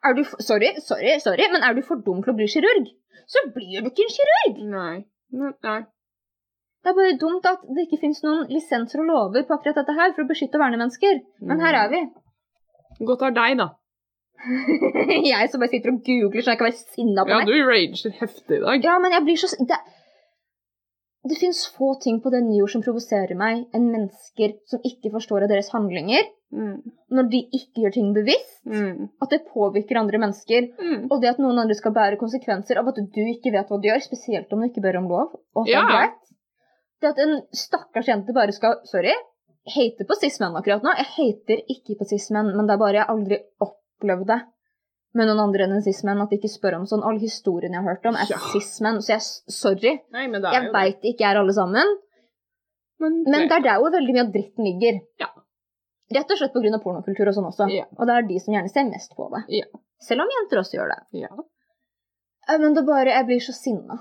[SPEAKER 1] Er du for, sorry, sorry, sorry, men er du for dum til å bli kirurg, så blir du ikke en kirurg.
[SPEAKER 2] Nei. Nei. Nei.
[SPEAKER 1] Det er bare dumt at det ikke finnes noen lisenser og lover på akkurat dette her for å beskytte og verne mennesker. Men her er vi.
[SPEAKER 2] Godt av deg, da.
[SPEAKER 1] jeg som bare sitter og googler så jeg kan være sinna på
[SPEAKER 2] Ja,
[SPEAKER 1] meg.
[SPEAKER 2] du rager heftig i dag.
[SPEAKER 1] Ja, men jeg blir så... s- Det, det finnes få ting på denne jord som provoserer meg enn mennesker som ikke forstår av deres handlinger,
[SPEAKER 2] Mm.
[SPEAKER 1] når de ikke gjør ting bevisst,
[SPEAKER 2] Mm.
[SPEAKER 1] at det påvirker andre mennesker,
[SPEAKER 2] Mm.
[SPEAKER 1] Og det at noen andre skal bære konsekvenser av at du ikke vet hva du gjør, spesielt om du ikke ber om lov, og at det
[SPEAKER 2] Ja.
[SPEAKER 1] er greit. Det at en stakkars jente bare skal Sorry, hater på cis-menn akkurat nå. Jeg hater ikke på cis-menn, men det er bare jeg aldri opplevd det med noen andre enn en cis-menn. At de ikke spør om sånn. Alle historiene jeg har hørt om, er
[SPEAKER 2] Ja.
[SPEAKER 1] cis-menn. Så jeg s- sorry.
[SPEAKER 2] Nei, men det er
[SPEAKER 1] Jeg
[SPEAKER 2] jo det.
[SPEAKER 1] veit det ikke er alle sammen,
[SPEAKER 2] Men,
[SPEAKER 1] men det er der hvor veldig mye av dritten ligger.
[SPEAKER 2] Ja.
[SPEAKER 1] Rett og slett pga. pornokultur og sånn også.
[SPEAKER 2] Ja.
[SPEAKER 1] Og det er de som gjerne ser mest på det.
[SPEAKER 2] Ja.
[SPEAKER 1] Selv om jenter også gjør det.
[SPEAKER 2] Ja.
[SPEAKER 1] Eh, Men det er bare Jeg blir så sinna.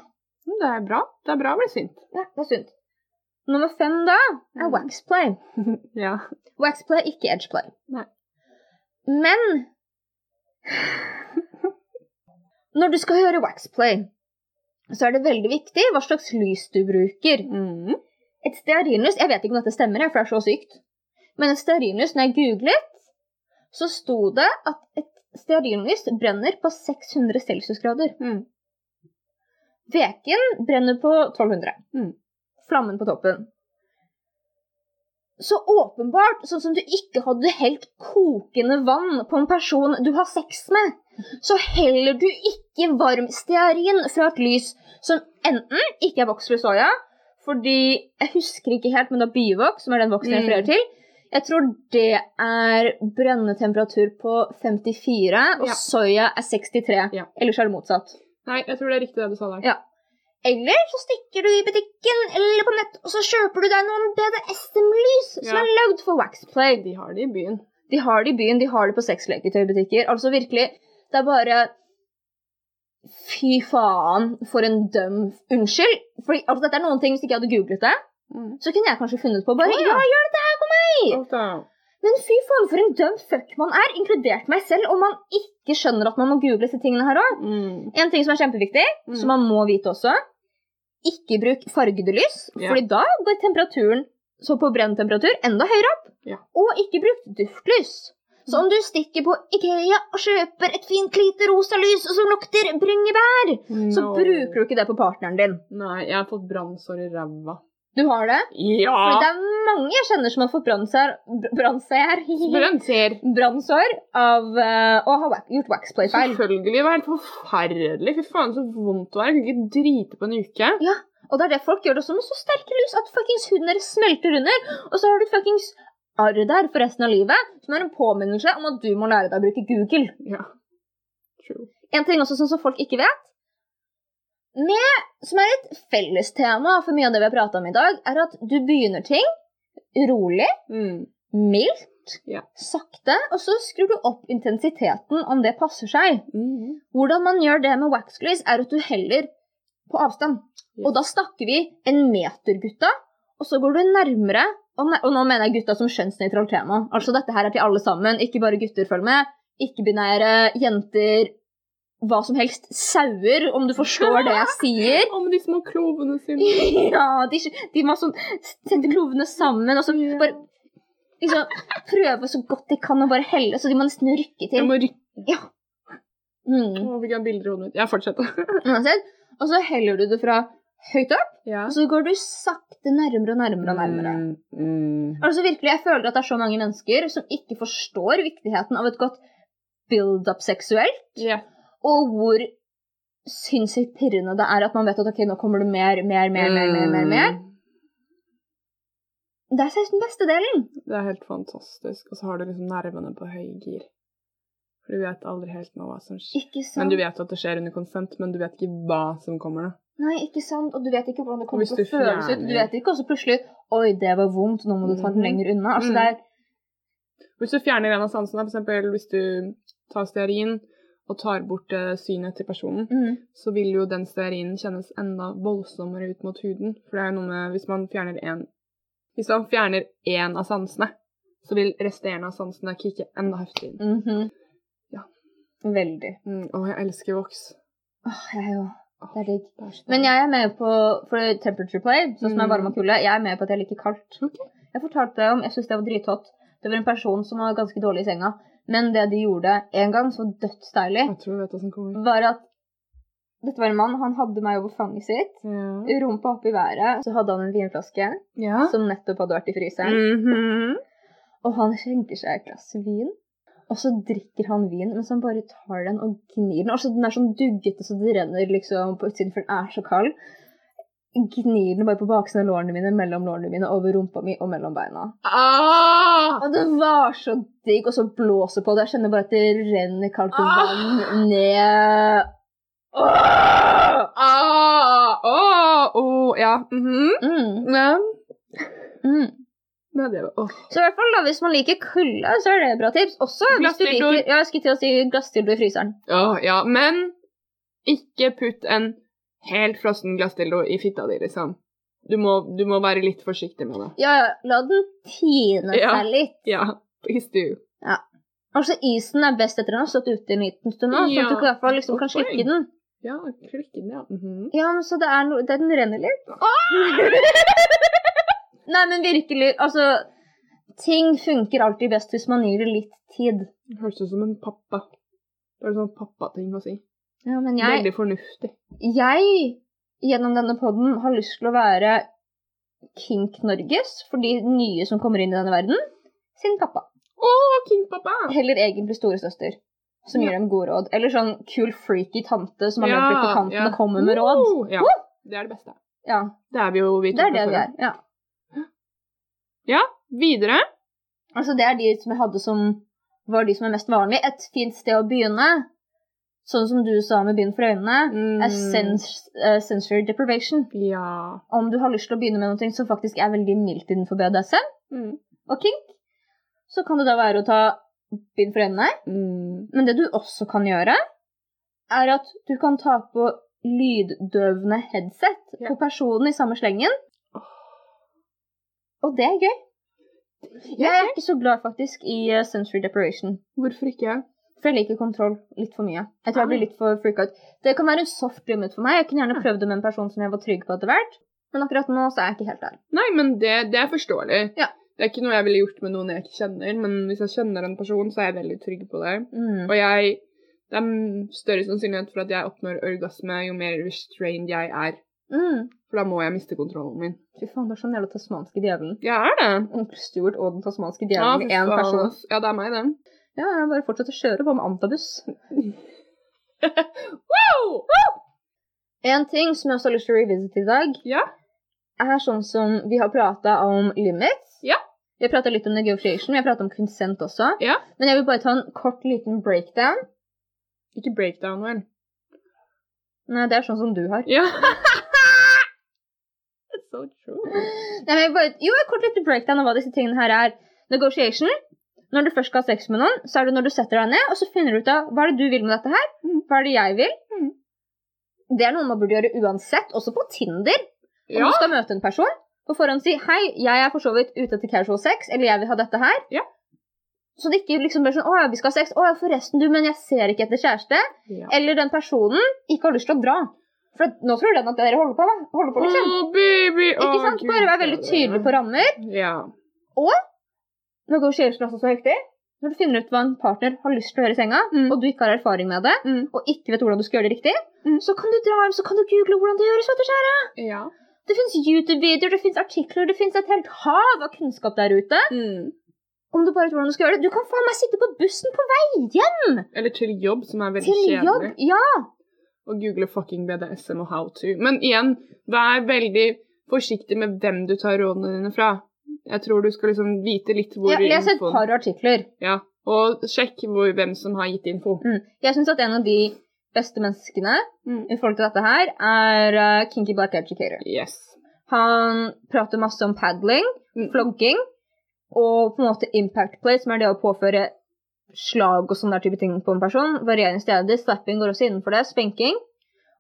[SPEAKER 2] Men det er bra. Det er bra å bli sint.
[SPEAKER 1] Ja, det er sunt. Nummer fem da er
[SPEAKER 2] Mm.
[SPEAKER 1] waxplay.
[SPEAKER 2] Ja.
[SPEAKER 1] Waxplay, ikke edgeplay.
[SPEAKER 2] Nei.
[SPEAKER 1] Men Når du skal gjøre waxplay, så er det veldig viktig hva slags lys du bruker.
[SPEAKER 2] Mm.
[SPEAKER 1] Et stearinlys Jeg vet ikke om dette stemmer, her, for det er så sykt. Men et stearinlys, når jeg googlet, så sto det at et stearinlys brenner på 600 celsiusgrader.
[SPEAKER 2] Mm.
[SPEAKER 1] Veken brenner på 1200.
[SPEAKER 2] Mm.
[SPEAKER 1] Flammen på toppen. Så åpenbart, sånn som du ikke hadde helt kokende vann på en person du har sex med, så heller du ikke varm stearin fra et lys som enten ikke er voks fra soya, fordi jeg husker ikke helt, men det er bivoks, som er den voksen jeg
[SPEAKER 2] Mm.
[SPEAKER 1] refererer til. Jeg tror det er brennetemperatur på 54, og
[SPEAKER 2] Ja.
[SPEAKER 1] soya er 63.
[SPEAKER 2] Ja.
[SPEAKER 1] Ellers er det motsatt.
[SPEAKER 2] Nei, jeg tror det er riktig det du sa der.
[SPEAKER 1] Ja. Eller så stikker du i butikken eller på nett og så kjøper du deg noen BDSM-lys som
[SPEAKER 2] Ja.
[SPEAKER 1] er lagd for Waxplay.
[SPEAKER 2] De har det i byen.
[SPEAKER 1] De har det i byen, de har det på sexleketøybutikker. Altså virkelig, det er bare Fy faen, for en døm Unnskyld. Fordi, altså, dette er noen ting Hvis ikke jeg hadde googlet det,
[SPEAKER 2] Mm.
[SPEAKER 1] så kunne jeg kanskje funnet på bare
[SPEAKER 2] Å,
[SPEAKER 1] ja.
[SPEAKER 2] ja.
[SPEAKER 1] gjør dette her på meg!
[SPEAKER 2] Alt da.
[SPEAKER 1] Men fy faen, for en døm fuck man er, inkludert meg selv, om man ikke skjønner at man må google disse tingene her òg.
[SPEAKER 2] Mm.
[SPEAKER 1] En ting som er kjempeviktig,
[SPEAKER 2] Mm.
[SPEAKER 1] som man må vite også. Ikke bruk fargede lys,
[SPEAKER 2] Ja.
[SPEAKER 1] fordi da går temperaturen så på brenntemperatur enda høyere opp.
[SPEAKER 2] Ja. Mm.
[SPEAKER 1] Og ikke bruk duftlys. Så om du stikker på Ikea og kjøper et fint lite rosa lys som lukter bringebær, så
[SPEAKER 2] Nå.
[SPEAKER 1] bruker du ikke det på partneren din.
[SPEAKER 2] Mm. Nei, jeg har fått brannsår i ræva.
[SPEAKER 1] Du har det? For
[SPEAKER 2] Ja!
[SPEAKER 1] det er mange jeg kjenner som har fått brannsår br- brannsår-
[SPEAKER 2] Brønnser.
[SPEAKER 1] brannsår av eh, å ha wa- gjort waxplay-feil.
[SPEAKER 2] Selvfølgelig. Det var helt forferdelig. Fy faen, så vondt det var. Jeg kunne ikke drite på en uke.
[SPEAKER 1] Og det er det folk gjør det også med så sterke lys at fuckings huden deres smelter under. Og så har du et fuckings arr der for resten av livet, som er en påminnelse om at du må lære deg å bruke Google.
[SPEAKER 2] Ja. True.
[SPEAKER 1] En ting også sånn som folk ikke vet, med, som er et fellestema for mye av det vi har prata om i dag, er at du begynner ting rolig,
[SPEAKER 2] Mm.
[SPEAKER 1] mildt,
[SPEAKER 2] Ja.
[SPEAKER 1] sakte, og så skrur du opp intensiteten om det passer seg. Mhm. Hvordan man gjør det med waxlys, er at du heller på avstand.
[SPEAKER 2] Yes.
[SPEAKER 1] Og da snakker vi en meter, gutta, og så går du nærmere. Og, ne- og nå mener jeg gutta som skjønnsnøytralt tema. Altså dette her er til alle sammen, ikke bare gutter, følg med. Ikke-binære, jenter, hva som helst. Sauer, om du forstår det jeg sier.
[SPEAKER 2] Å, med de små klovene sine.
[SPEAKER 1] Ja, de, de må sånn sette klovene sammen, og så
[SPEAKER 2] Ja.
[SPEAKER 1] bare liksom prøve så godt de kan å bare helle, så de må nesten rykke
[SPEAKER 2] Jeg
[SPEAKER 1] til.
[SPEAKER 2] må rykke.
[SPEAKER 1] Mm.
[SPEAKER 2] Nå fikk jeg bilder i hodet mitt. Jeg fortsetter.
[SPEAKER 1] Uansett. Og så heller du det fra høyt opp,
[SPEAKER 2] Ja.
[SPEAKER 1] og så går du sakte nærmere og nærmere. og
[SPEAKER 2] Mm.
[SPEAKER 1] nærmere. Altså virkelig, Jeg føler at det er så mange mennesker som ikke forstår viktigheten av et godt build-up seksuelt,
[SPEAKER 2] Ja.
[SPEAKER 1] og hvor sinnssykt pirrende det er at man vet at ok, nå kommer det mer, mer, mer. mer, mer, mer, mer.
[SPEAKER 2] Mm.
[SPEAKER 1] Det er seriøst den beste delen.
[SPEAKER 2] Det er helt fantastisk. Og så har du liksom nervene på høygir. For du vet aldri helt nå hva som skjer.
[SPEAKER 1] Ikke sant?
[SPEAKER 2] Men du vet jo at det skjer under konsent, men du vet ikke hva som kommer, da.
[SPEAKER 1] Nei, ikke sant? Og du vet ikke hvordan det kommer
[SPEAKER 2] Hvis
[SPEAKER 1] til å
[SPEAKER 2] du
[SPEAKER 1] føles ut.
[SPEAKER 2] fjerner-
[SPEAKER 1] Du vet ikke også plutselig Oi, det var vondt. Nå må du ta den
[SPEAKER 2] Mhm.
[SPEAKER 1] lenger unna. Altså,
[SPEAKER 2] Mm.
[SPEAKER 1] det er
[SPEAKER 2] Hvis du fjerner en av sansene, f.eks. hvis du tar stearin og tar bort eh, synet til personen,
[SPEAKER 1] mm,
[SPEAKER 2] så vil jo den stearinen kjennes enda voldsommere ut mot huden. For det er jo noe med Hvis man fjerner en Hvis man fjerner én av sansene, så vil resterende av sansene kicke enda heftigere inn.
[SPEAKER 1] mhm.
[SPEAKER 2] Ja.
[SPEAKER 1] Veldig.
[SPEAKER 2] Mm, å, jeg elsker voks.
[SPEAKER 1] Åh, jeg er jo
[SPEAKER 2] Åh,
[SPEAKER 1] Det er digg.
[SPEAKER 2] det er så
[SPEAKER 1] Men jeg er med på for temperature play, sånn som er
[SPEAKER 2] Mm.
[SPEAKER 1] varme og kulde. Jeg er med på at jeg liker kaldt.
[SPEAKER 2] Ok.
[SPEAKER 1] Jeg fortalte deg om Jeg syns det var drithot. Det var en person som var ganske dårlig i senga. Men det de gjorde en gang, som var dødsdeilig,
[SPEAKER 2] Jeg tror jeg vet hva som kommer.
[SPEAKER 1] var at Dette var en mann. Han hadde meg over fanget sitt.
[SPEAKER 2] Ja.
[SPEAKER 1] Rumpa opp i været. Så hadde han en vinflaske
[SPEAKER 2] ja.
[SPEAKER 1] som nettopp hadde vært i fryseren.
[SPEAKER 2] Mhm.
[SPEAKER 1] Og han skjenker seg et glass vin. Og så drikker han vin, mens han bare tar den og gnir den. Altså, den er sånn duggete så det renner liksom på utsiden, for den er så kald. Gnir den bare på baksiden av lårene mine, mellom lårene mine, over rumpa mi og mellom beina.
[SPEAKER 2] Ah!
[SPEAKER 1] Og det var så digg, og så blåser på det. Jeg kjenner bare at det renner kaldt vann ned Åh!
[SPEAKER 2] Ah! Åh! Åh! Ja. mhm.
[SPEAKER 1] mm,
[SPEAKER 2] ja.
[SPEAKER 1] mm.
[SPEAKER 2] Nei, det var åh.
[SPEAKER 1] Så i hvert fall da, hvis man liker kulde, så er det et bra tips. Også hvis du
[SPEAKER 2] Glassdildoer.
[SPEAKER 1] liker Ja, jeg skulle til å si glassdildo i fryseren.
[SPEAKER 2] Åh, ja. Men ikke putt en helt frossen glassdildo i fitta di, liksom. du må, du må være litt forsiktig med det.
[SPEAKER 1] Ja, ja, la den tine
[SPEAKER 2] Ja.
[SPEAKER 1] seg litt.
[SPEAKER 2] Ja, please do.
[SPEAKER 1] Altså, isen er best etter den har stått ute en liten stund nå,
[SPEAKER 2] Ja,
[SPEAKER 1] sånn at du i hvert fall liksom kan
[SPEAKER 2] godt poeng.
[SPEAKER 1] slikke den.
[SPEAKER 2] Ja, klikke den, ja. Mhm.
[SPEAKER 1] Ja, men så det er noe Den renner litt. Nei, men virkelig, altså Ting funker alltid best hvis man gir det litt tid.
[SPEAKER 2] Det Høres ut som en pappa. Det er en sånn pappating å si.
[SPEAKER 1] Ja, men jeg,
[SPEAKER 2] Veldig fornuftig.
[SPEAKER 1] jeg, gjennom denne podden, har lyst til å være Kink-Norges for de nye som kommer inn i denne verden, sin pappa.
[SPEAKER 2] Å, King pappa!
[SPEAKER 1] Heller egentlig storesøster, som
[SPEAKER 2] Ja.
[SPEAKER 1] gir dem gode råd. Eller sånn kul, freaky tante som har
[SPEAKER 2] Ja,
[SPEAKER 1] levd litt på kanten
[SPEAKER 2] ja.
[SPEAKER 1] og kommer med råd.
[SPEAKER 2] Wow! Ja, det er det beste.
[SPEAKER 1] Ja,
[SPEAKER 2] Det er vi jo vi
[SPEAKER 1] Det
[SPEAKER 2] to
[SPEAKER 1] er det
[SPEAKER 2] fra
[SPEAKER 1] vi
[SPEAKER 2] før.
[SPEAKER 1] er. Ja.
[SPEAKER 2] Videre.
[SPEAKER 1] Altså, det er de som jeg hadde som var de som er mest vanlige. Et fint sted å begynne, sånn som du sa med bind for øynene, er
[SPEAKER 2] Mm.
[SPEAKER 1] sens eh, sensory deprivation.
[SPEAKER 2] Ja.
[SPEAKER 1] Om du har lyst til å begynne med noe som faktisk er veldig mildt innenfor BDSM og kink, så kan det da være å ta bind for øynene.
[SPEAKER 2] Mm.
[SPEAKER 1] Men det du også kan gjøre, er at du kan ta på lyddøvende headset
[SPEAKER 2] Ja.
[SPEAKER 1] på personen i samme slengen. Og det er gøy. Jeg er ikke så glad faktisk i eh, sensory deprivation.
[SPEAKER 2] Hvorfor ikke?
[SPEAKER 1] For jeg liker kontroll litt for mye. Jeg tror jeg blir litt for freaka ut. Det kan være en soft limit for meg. Jeg kunne
[SPEAKER 2] Ah.
[SPEAKER 1] gjerne prøvd det med en person som jeg var trygg på etter hvert. Men akkurat nå så er jeg ikke helt der.
[SPEAKER 2] Nei, men det, det er forståelig.
[SPEAKER 1] Ja.
[SPEAKER 2] Det er ikke noe jeg ville gjort med noen jeg ikke kjenner, men hvis jeg kjenner en person, så er jeg veldig trygg på det.
[SPEAKER 1] Mm.
[SPEAKER 2] Og jeg Det er større sannsynlighet for at jeg oppnår orgasme jo mer restrained jeg er.
[SPEAKER 1] Mm.
[SPEAKER 2] For da må jeg miste kontrollen min.
[SPEAKER 1] Fy faen, det er sånn jævla tasmanske djevelen.
[SPEAKER 2] Jeg er det.
[SPEAKER 1] Onkel Stuart og den tasmanske
[SPEAKER 2] Ja,
[SPEAKER 1] djevelen i én
[SPEAKER 2] Ah, faen,
[SPEAKER 1] person.
[SPEAKER 2] ass. Ja, det er meg, det.
[SPEAKER 1] Ja, jeg bare fortsett å kjøre på med antabus.
[SPEAKER 2] Wow!
[SPEAKER 1] En ting som jeg også har lyst til å revisite i dag,
[SPEAKER 2] Ja.
[SPEAKER 1] er sånn som vi har prata om limits.
[SPEAKER 2] Ja.
[SPEAKER 1] Vi har prata litt om negotiation, vi har prata om consent også.
[SPEAKER 2] Ja.
[SPEAKER 1] Men jeg vil bare ta en kort liten breakdown.
[SPEAKER 2] Ikke breakdown, vel?
[SPEAKER 1] Nei, det er sånn som du har.
[SPEAKER 2] Ja. That's so true.
[SPEAKER 1] Nei, men jeg vil bare, jo, en kort liten breakdown av hva disse tingene her er. Negotiation. Når du først skal ha sex med noen, så er det når du setter deg ned, og så finner du ut av hva er det du vil med dette her,
[SPEAKER 2] Mm.
[SPEAKER 1] hva er det jeg vil.
[SPEAKER 2] Mm.
[SPEAKER 1] Det er noe man burde gjøre uansett, også på Tinder. Om
[SPEAKER 2] Ja.
[SPEAKER 1] du skal møte en person, på forhånd si 'Hei, jeg er for så vidt ute etter casual sex', eller 'Jeg vil ha dette her'.
[SPEAKER 2] Ja.
[SPEAKER 1] Så det ikke liksom blir sånn 'Å ja, vi skal ha sex'. 'Å ja, forresten, du, men jeg ser ikke etter kjæreste'.
[SPEAKER 2] ja.
[SPEAKER 1] Eller den personen ikke har lyst til å dra. For at nå tror den at dere holder på, da. Holder på, liksom.
[SPEAKER 2] Å, baby! Å,
[SPEAKER 1] ikke sant?
[SPEAKER 2] Gud,
[SPEAKER 1] Bare vær veldig tydelig på rammer.
[SPEAKER 2] Ja.
[SPEAKER 1] Negotiation er også så viktig. Når du finner ut hva en partner har lyst til å gjøre i senga,
[SPEAKER 2] Mm.
[SPEAKER 1] og du ikke har erfaring med det,
[SPEAKER 2] Mm.
[SPEAKER 1] og ikke vet hvordan du skal gjøre det riktig,
[SPEAKER 2] Mm.
[SPEAKER 1] så kan du dra hjem, så kan du google hvordan det gjøres. vet du, kjære.
[SPEAKER 2] ja.
[SPEAKER 1] Det fins YouTube-videoer, det fins artikler, det fins et helt hav av kunnskap der ute.
[SPEAKER 2] Mm.
[SPEAKER 1] Om du bare vet hvordan du skal gjøre det. Du kan faen meg sitte på bussen på vei hjem
[SPEAKER 2] Eller til jobb, som er veldig
[SPEAKER 1] til
[SPEAKER 2] kjedelig.
[SPEAKER 1] jobb. Ja,
[SPEAKER 2] Og google fucking BDSM og how to. Men igjen, vær veldig forsiktig med hvem du tar rådene dine fra. Jeg tror du skal liksom vite litt hvor
[SPEAKER 1] jeg les et
[SPEAKER 2] infoen-
[SPEAKER 1] par artikler.
[SPEAKER 2] Ja. Og sjekk hvor, hvem som har gitt info.
[SPEAKER 1] Mm. Jeg syns at en av de beste menneskene
[SPEAKER 2] Mm.
[SPEAKER 1] i forhold til dette her, er eh, Kinky Black Educator.
[SPEAKER 2] Yes.
[SPEAKER 1] Han prater masse om padling,
[SPEAKER 2] Mm.
[SPEAKER 1] flogging og på en måte impact play, som er det å påføre slag og sånne der type ting på en person. Varierende steder. Slapping går også innenfor det. Spenking.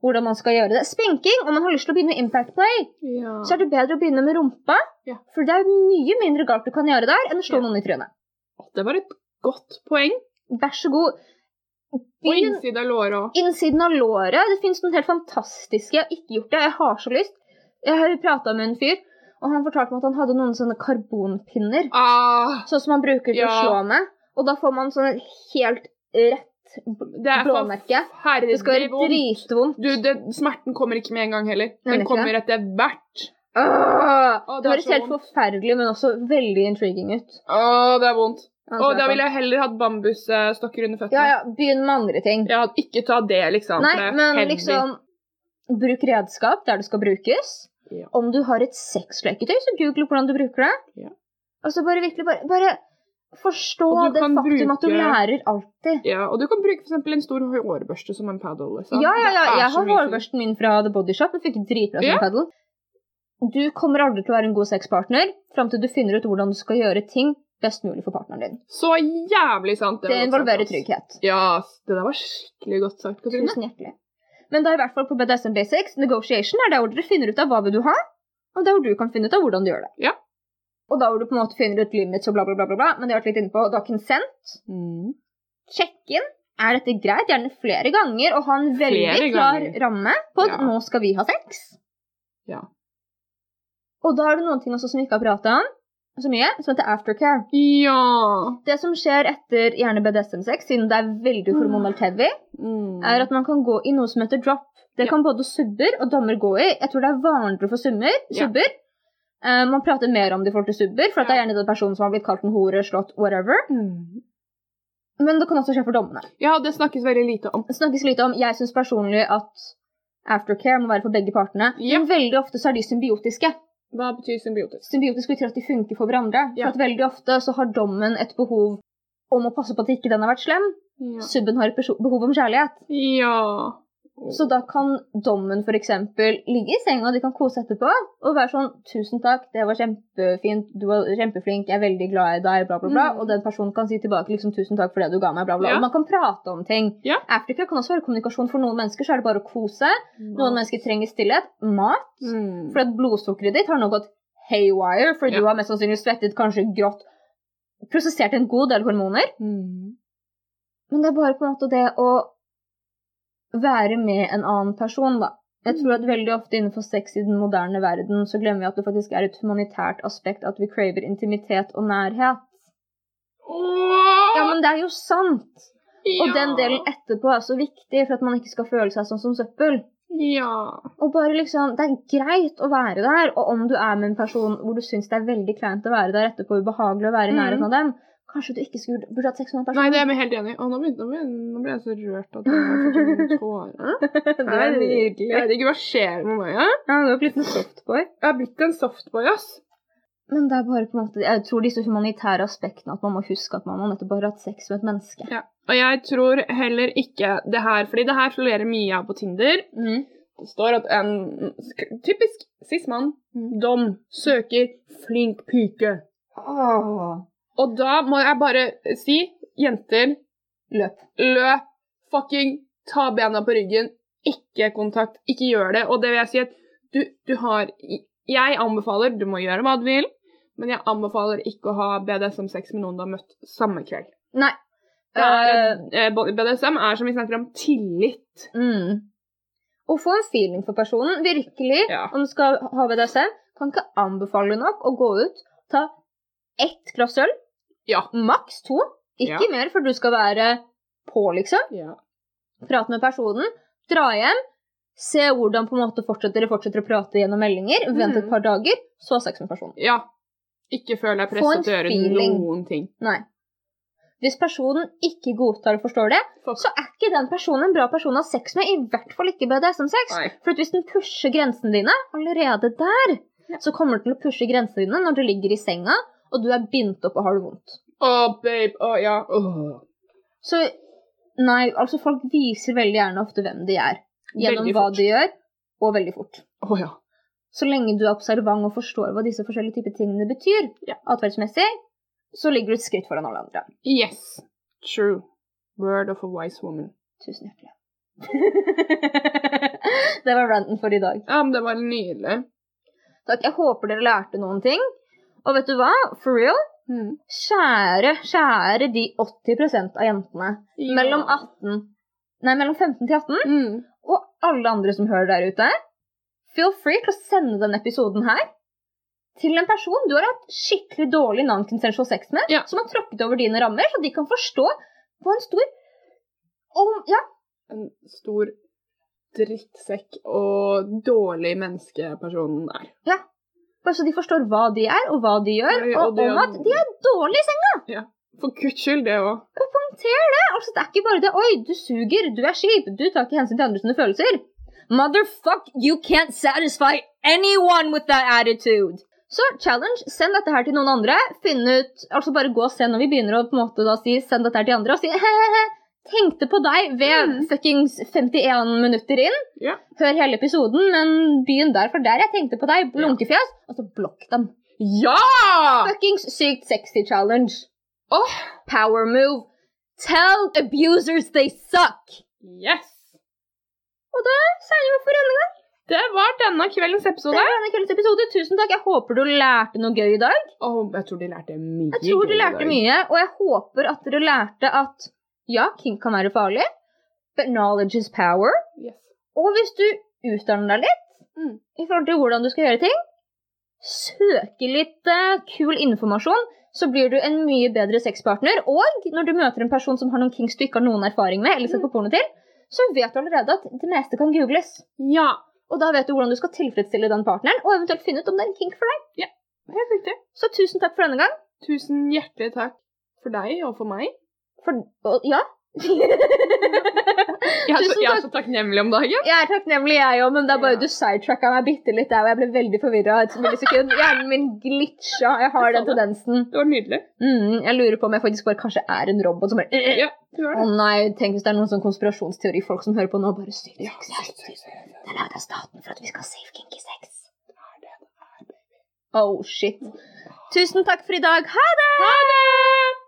[SPEAKER 1] Hvordan man skal gjøre det. Spenking! Om man har lyst til å begynne med impact play,
[SPEAKER 2] Ja.
[SPEAKER 1] så er det bedre å begynne med rumpa.
[SPEAKER 2] Ja.
[SPEAKER 1] For det er mye mindre galt du kan gjøre der enn å slå
[SPEAKER 2] Ja.
[SPEAKER 1] noen i trynet.
[SPEAKER 2] Det var et godt poeng.
[SPEAKER 1] Vær så god.
[SPEAKER 2] Og
[SPEAKER 1] Begynn
[SPEAKER 2] innsida av låret òg.
[SPEAKER 1] innsiden av låret. Det fins noen helt fantastiske Jeg har ikke gjort det. Jeg har så lyst. Jeg har prata med en fyr, og han fortalte meg at han hadde noen sånne karbonpinner.
[SPEAKER 2] Ah,
[SPEAKER 1] Sånn som man bruker til å
[SPEAKER 2] Ja.
[SPEAKER 1] slå med. Og da får man sånn helt rett
[SPEAKER 2] det er
[SPEAKER 1] blåmerke. Det skal være
[SPEAKER 2] forferdelig vondt.
[SPEAKER 1] dritvondt.
[SPEAKER 2] Du, det, smerten kommer ikke med en gang heller.
[SPEAKER 1] Nei, det er
[SPEAKER 2] Den
[SPEAKER 1] ikke
[SPEAKER 2] kommer etter hvert.
[SPEAKER 1] Åh!
[SPEAKER 2] Å, det
[SPEAKER 1] Ah! Det
[SPEAKER 2] er
[SPEAKER 1] høres
[SPEAKER 2] så
[SPEAKER 1] helt
[SPEAKER 2] vondt.
[SPEAKER 1] forferdelig, men også veldig intriguing ut.
[SPEAKER 2] Å, det er vondt.
[SPEAKER 1] Ja,
[SPEAKER 2] Å,
[SPEAKER 1] tror jeg
[SPEAKER 2] da
[SPEAKER 1] på.
[SPEAKER 2] ville jeg heller hatt bambusstokker under føttene.
[SPEAKER 1] ja, ja, begynn med andre ting.
[SPEAKER 2] Jeg hadde ikke ta det, liksom. for
[SPEAKER 1] Nei,
[SPEAKER 2] det er
[SPEAKER 1] men
[SPEAKER 2] heavy.
[SPEAKER 1] liksom Bruk redskap der det skal brukes.
[SPEAKER 2] Ja.
[SPEAKER 1] Om du har et sexleketøy, så google hvordan du bruker det.
[SPEAKER 2] Ja.
[SPEAKER 1] Altså bare virkelig bare, bare forstå
[SPEAKER 2] Og du
[SPEAKER 1] det
[SPEAKER 2] kan
[SPEAKER 1] faktum at du
[SPEAKER 2] bruke-
[SPEAKER 1] lærer alltid.
[SPEAKER 2] Ja, og du kan bruke for eksempel en stor hårbørste som en paddle. Liksom.
[SPEAKER 1] Ja, ja, ja.
[SPEAKER 2] Det er
[SPEAKER 1] Jeg
[SPEAKER 2] så
[SPEAKER 1] har
[SPEAKER 2] mye
[SPEAKER 1] hårbørsten min fra The Body Shop. Jeg fikk dritbra som
[SPEAKER 2] Ja.
[SPEAKER 1] pedal. Du kommer aldri til å være en god sexpartner fram til du finner ut hvordan du skal gjøre ting best mulig for partneren din.
[SPEAKER 2] fint. Så jævlig sant.
[SPEAKER 1] Det,
[SPEAKER 2] var godt
[SPEAKER 1] involverer
[SPEAKER 2] sagt, ass.
[SPEAKER 1] trygghet.
[SPEAKER 2] Ja, ass. det der var skikkelig godt sagt. Katrine.
[SPEAKER 1] Tusen hjertelig. Men da i hvert fall på BDSM Basics, negotiation, er der hvor dere finner ut av hva vil du ha, Og der hvor du kan finne ut av hvordan du gjør det.
[SPEAKER 2] Ja.
[SPEAKER 1] Og da hvor du på en måte finner ut limits og bla, bla, bla, bla, bla men det har jeg vært litt inne på, da consent, sjekk inn, er dette greit, gjerne flere ganger, og ha en veldig
[SPEAKER 2] Flere
[SPEAKER 1] klar
[SPEAKER 2] ganger.
[SPEAKER 1] ramme på at
[SPEAKER 2] Ja.
[SPEAKER 1] nå skal vi ha sex.
[SPEAKER 2] Ja.
[SPEAKER 1] Og da er det noen ting også som vi ikke har pratet om, så mye, som heter aftercare.
[SPEAKER 2] Ja.
[SPEAKER 1] Det som skjer etter gjerne BDSM-sex, siden det er veldig hormonelt heavy, Mm. er at man kan gå i noe som heter drop. Det
[SPEAKER 2] Ja.
[SPEAKER 1] kan både subber og dommer gå i. Jeg tror det er vanligere for summer,
[SPEAKER 2] Ja.
[SPEAKER 1] subber. Eh, man prater mer om det i forhold til subber, for at det er gjerne den personen som har blitt kalt en hore, slått, whatever. Men det kan også skje for dommene.
[SPEAKER 2] Mm. Ja, det snakkes veldig lite om.
[SPEAKER 1] Det snakkes lite om Jeg syns personlig at aftercare må være for begge partene.
[SPEAKER 2] Ja.
[SPEAKER 1] Men veldig ofte så er de symbiotiske.
[SPEAKER 2] Hva betyr symbiotisk?
[SPEAKER 1] Symbiotisk betyr at de funker for hverandre.
[SPEAKER 2] Ja.
[SPEAKER 1] For at veldig ofte så har dommen et behov om å passe på at ikke den har vært slem.
[SPEAKER 2] Ja.
[SPEAKER 1] Subben har et perso- behov om kjærlighet.
[SPEAKER 2] ja.
[SPEAKER 1] Så da kan dommen f.eks. ligge i senga, de kan kose etterpå og være sånn 'Tusen takk, det var kjempefint, du var kjempeflink, jeg er veldig glad i deg', bla, bla, bla.
[SPEAKER 2] Mm.
[SPEAKER 1] Og den personen kan si tilbake liksom 'Tusen takk for det du ga meg', bla, bla.
[SPEAKER 2] Ja.
[SPEAKER 1] Og man kan prate om ting.
[SPEAKER 2] Ja.
[SPEAKER 1] Aftercare kan også være kommunikasjon. For noen mennesker så er det bare å kose. Noen mennesker trenger stillhet. Mat.
[SPEAKER 2] Mm.
[SPEAKER 1] For at blodsukkeret ditt har nå gått haywire, for
[SPEAKER 2] Ja.
[SPEAKER 1] du har mest sannsynlig svettet, kanskje grått, prosessert en god del hormoner.
[SPEAKER 2] Mm.
[SPEAKER 1] Men det er bare på en måte det å være med en annen person, da.
[SPEAKER 2] Mm.
[SPEAKER 1] Jeg tror at veldig ofte innenfor sex i den moderne verden så glemmer vi at det faktisk er et humanitært aspekt at vi craver intimitet og nærhet.
[SPEAKER 2] Åh,
[SPEAKER 1] Ja, men det er jo sant! Og
[SPEAKER 2] ja.
[SPEAKER 1] den delen etterpå er så viktig for at man ikke skal føle seg sånn som søppel.
[SPEAKER 2] Ja.
[SPEAKER 1] Og bare liksom, Det er greit å være der, og om du er med en person hvor du syns det er veldig kleint å være der etterpå, ubehagelig å være i
[SPEAKER 2] Mhm.
[SPEAKER 1] nærheten av dem, kanskje du ikke skulle burde hatt sex med den personen.
[SPEAKER 2] Nei, det er jeg helt enig i. Å, Nå, begynte- nå ble- nå ble jeg så rørt at jeg fikk tårer.
[SPEAKER 1] det var nydelig.
[SPEAKER 2] Jeg vet ikke hva skjer med meg. Jeg,
[SPEAKER 1] Ja, du har blitt en softboy.
[SPEAKER 2] jeg har blitt en softboy, ass.
[SPEAKER 1] Men det er bare på en måte, jeg tror disse humanitære aspektene at man må huske at man har nettopp bare hatt sex med et menneske.
[SPEAKER 2] Ja. Og jeg tror heller ikke det her, fordi det her florerer mye av på Tinder. Det står at en sk- typisk cis-mann,
[SPEAKER 1] Mm.
[SPEAKER 2] dom, søker flink pike.
[SPEAKER 1] Åh.
[SPEAKER 2] Og da må jeg bare si, jenter,
[SPEAKER 1] Løp.
[SPEAKER 2] løp, fucking ta bena på ryggen, ikke kontakt, ikke gjør det. Og det vil jeg si at du, du har Jeg anbefaler, du må gjøre hva du vil, men jeg anbefaler ikke å ha BDSM-sex med noen du har møtt samme kveld.
[SPEAKER 1] Nei.
[SPEAKER 2] Det er, eh, BDSM er som vi snakker om, tillit.
[SPEAKER 1] Eh, mm. Å få en feeling for personen, virkelig,
[SPEAKER 2] Ja.
[SPEAKER 1] om du skal ha BDSM, kan ikke anbefale nok å gå ut, ta ett glass øl,
[SPEAKER 2] Ja.
[SPEAKER 1] maks to, ikke
[SPEAKER 2] Ja.
[SPEAKER 1] mer, for du skal være på, liksom. Prate med personen, dra hjem, se hvordan på en måte fortsetter, fortsetter å prate gjennom meldinger, vent et
[SPEAKER 2] Mm.
[SPEAKER 1] par dager, så ha sex med personen.
[SPEAKER 2] Ja. Ikke føl deg
[SPEAKER 1] Få en
[SPEAKER 2] presset til å gjøre
[SPEAKER 1] feeling.
[SPEAKER 2] noen ting.
[SPEAKER 1] Nei. Hvis personen ikke godtar og forstår det,
[SPEAKER 2] Fuck.
[SPEAKER 1] så er ikke den personen en bra person å ha sex med, i hvert fall ikke BDSM-sex.
[SPEAKER 2] Nei.
[SPEAKER 1] For at hvis den pusher grensene dine allerede der,
[SPEAKER 2] Ja.
[SPEAKER 1] så kommer den til å pushe grensene dine når du ligger i senga og du er bindt opp og har det vondt.
[SPEAKER 2] Å, babe. Å, ja. Åh.
[SPEAKER 1] Så nei, altså folk viser veldig gjerne ofte hvem de er. Gjennom
[SPEAKER 2] Veldig
[SPEAKER 1] hva
[SPEAKER 2] fort.
[SPEAKER 1] de gjør, og veldig fort.
[SPEAKER 2] Å, ja.
[SPEAKER 1] Så lenge du er observant og forstår hva disse forskjellige typer tingene betyr,
[SPEAKER 2] Ja.
[SPEAKER 1] atferdsmessig, så ligger du et skritt foran alle andre.
[SPEAKER 2] Yes. True. Word of a wise woman.
[SPEAKER 1] Tusen hjertelig. det var ranten for i dag.
[SPEAKER 2] Ja, men det var nydelig.
[SPEAKER 1] Takk, Jeg håper dere lærte noen ting. Og vet du hva? For real,
[SPEAKER 2] Mm.
[SPEAKER 1] kjære, kjære de 80 av jentene
[SPEAKER 2] Ja.
[SPEAKER 1] mellom 18 Nei, mellom 15 til 18,
[SPEAKER 2] Mm.
[SPEAKER 1] og alle andre som hører der ute, feel free til å sende denne episoden her til en person du har hatt skikkelig dårlig non-consensual sex med,
[SPEAKER 2] Ja.
[SPEAKER 1] som har tråkket over dine rammer, så de kan forstå på en stor om, Ja,
[SPEAKER 2] En stor drittsekk og dårlig menneskeperson der.
[SPEAKER 1] Bare så de forstår hva de er, og hva de gjør,
[SPEAKER 2] Ja, ja,
[SPEAKER 1] og
[SPEAKER 2] det
[SPEAKER 1] om
[SPEAKER 2] er-
[SPEAKER 1] at de er dårlige i senga.
[SPEAKER 2] For guds skyld, det òg.
[SPEAKER 1] Håndter det! Altså, det er ikke bare det 'oi, du suger, du er skip, du tar ikke hensyn til andre sine følelser'. Motherfuck, you can't satisfy anyone with that attitude! Så challenge, send dette her til noen andre. Finn ut, altså Bare gå og se når vi begynner å på en måte da si 'send dette her til andre', og si he-he-he. Tenkte på deg ved
[SPEAKER 2] Mm.
[SPEAKER 1] fuckings 51 minutter inn.
[SPEAKER 2] Ja.
[SPEAKER 1] Hør hele episoden, men begynn der, for der jeg tenkte på deg. Blunkefjes. Og så blokk dem.
[SPEAKER 2] Ja!
[SPEAKER 1] Fuckings sykt sexy challenge.
[SPEAKER 2] Åh!
[SPEAKER 1] Power move. Tell abusers they suck.
[SPEAKER 2] Yes!
[SPEAKER 1] Seier for denne gang.
[SPEAKER 2] Det var denne kveldens
[SPEAKER 1] Det
[SPEAKER 2] episode.
[SPEAKER 1] var denne kveldens episode. Tusen takk. Jeg håper du lærte noe gøy i dag.
[SPEAKER 2] Å, jeg tror de lærte mye.
[SPEAKER 1] Jeg tror
[SPEAKER 2] gøy
[SPEAKER 1] du
[SPEAKER 2] i
[SPEAKER 1] lærte
[SPEAKER 2] dag.
[SPEAKER 1] mye, og jeg håper at dere lærte at ja, kink kan være farlig, but knowledge is power.
[SPEAKER 2] Yes.
[SPEAKER 1] Og hvis du utdanner deg litt
[SPEAKER 2] Mm.
[SPEAKER 1] i forhold til hvordan du skal gjøre ting, søke litt eh, kul informasjon, så blir du en mye bedre sexpartner. Og når du møter en person som har noen kinks du ikke har noen erfaring med, eller sett
[SPEAKER 2] Mm.
[SPEAKER 1] på porno til, så vet du allerede at det meste kan googles.
[SPEAKER 2] Ja,
[SPEAKER 1] Og da vet du hvordan du skal tilfredsstille den partneren, og eventuelt finne ut om det er en kink for deg.
[SPEAKER 2] helt riktig.
[SPEAKER 1] Så tusen takk for denne gang.
[SPEAKER 2] Tusen hjertelig takk for deg og for meg.
[SPEAKER 1] For, og, ja.
[SPEAKER 2] Jeg er så,
[SPEAKER 1] Tusen
[SPEAKER 2] jeg er
[SPEAKER 1] takk.
[SPEAKER 2] så takknemlig om dagen.
[SPEAKER 1] Jeg er takknemlig, jeg òg, men det er bare
[SPEAKER 2] Ja.
[SPEAKER 1] du sidetracka meg bitte litt der, og jeg ble veldig forvirra et millisekund. Hjernen min glitcha. Jeg har den tendensen.
[SPEAKER 2] Det var nydelig.
[SPEAKER 1] Mm, jeg lurer på om jeg faktisk bare kanskje er en robot som bare «Øh,
[SPEAKER 2] Ja, det var
[SPEAKER 1] Å
[SPEAKER 2] det.
[SPEAKER 1] nei, tenk hvis det er noen sånn konspirasjonsteori-folk som hører på nå, og bare sykt
[SPEAKER 2] Ja,
[SPEAKER 1] sex.
[SPEAKER 2] sex,
[SPEAKER 1] er
[SPEAKER 2] sex,
[SPEAKER 1] sykt.
[SPEAKER 2] sex.
[SPEAKER 1] Det er laget av staten for at vi skal ha safe kinky sex.
[SPEAKER 2] er det det er.
[SPEAKER 1] Oh shit. Tusen takk for i dag. Ha det!
[SPEAKER 2] Ha det!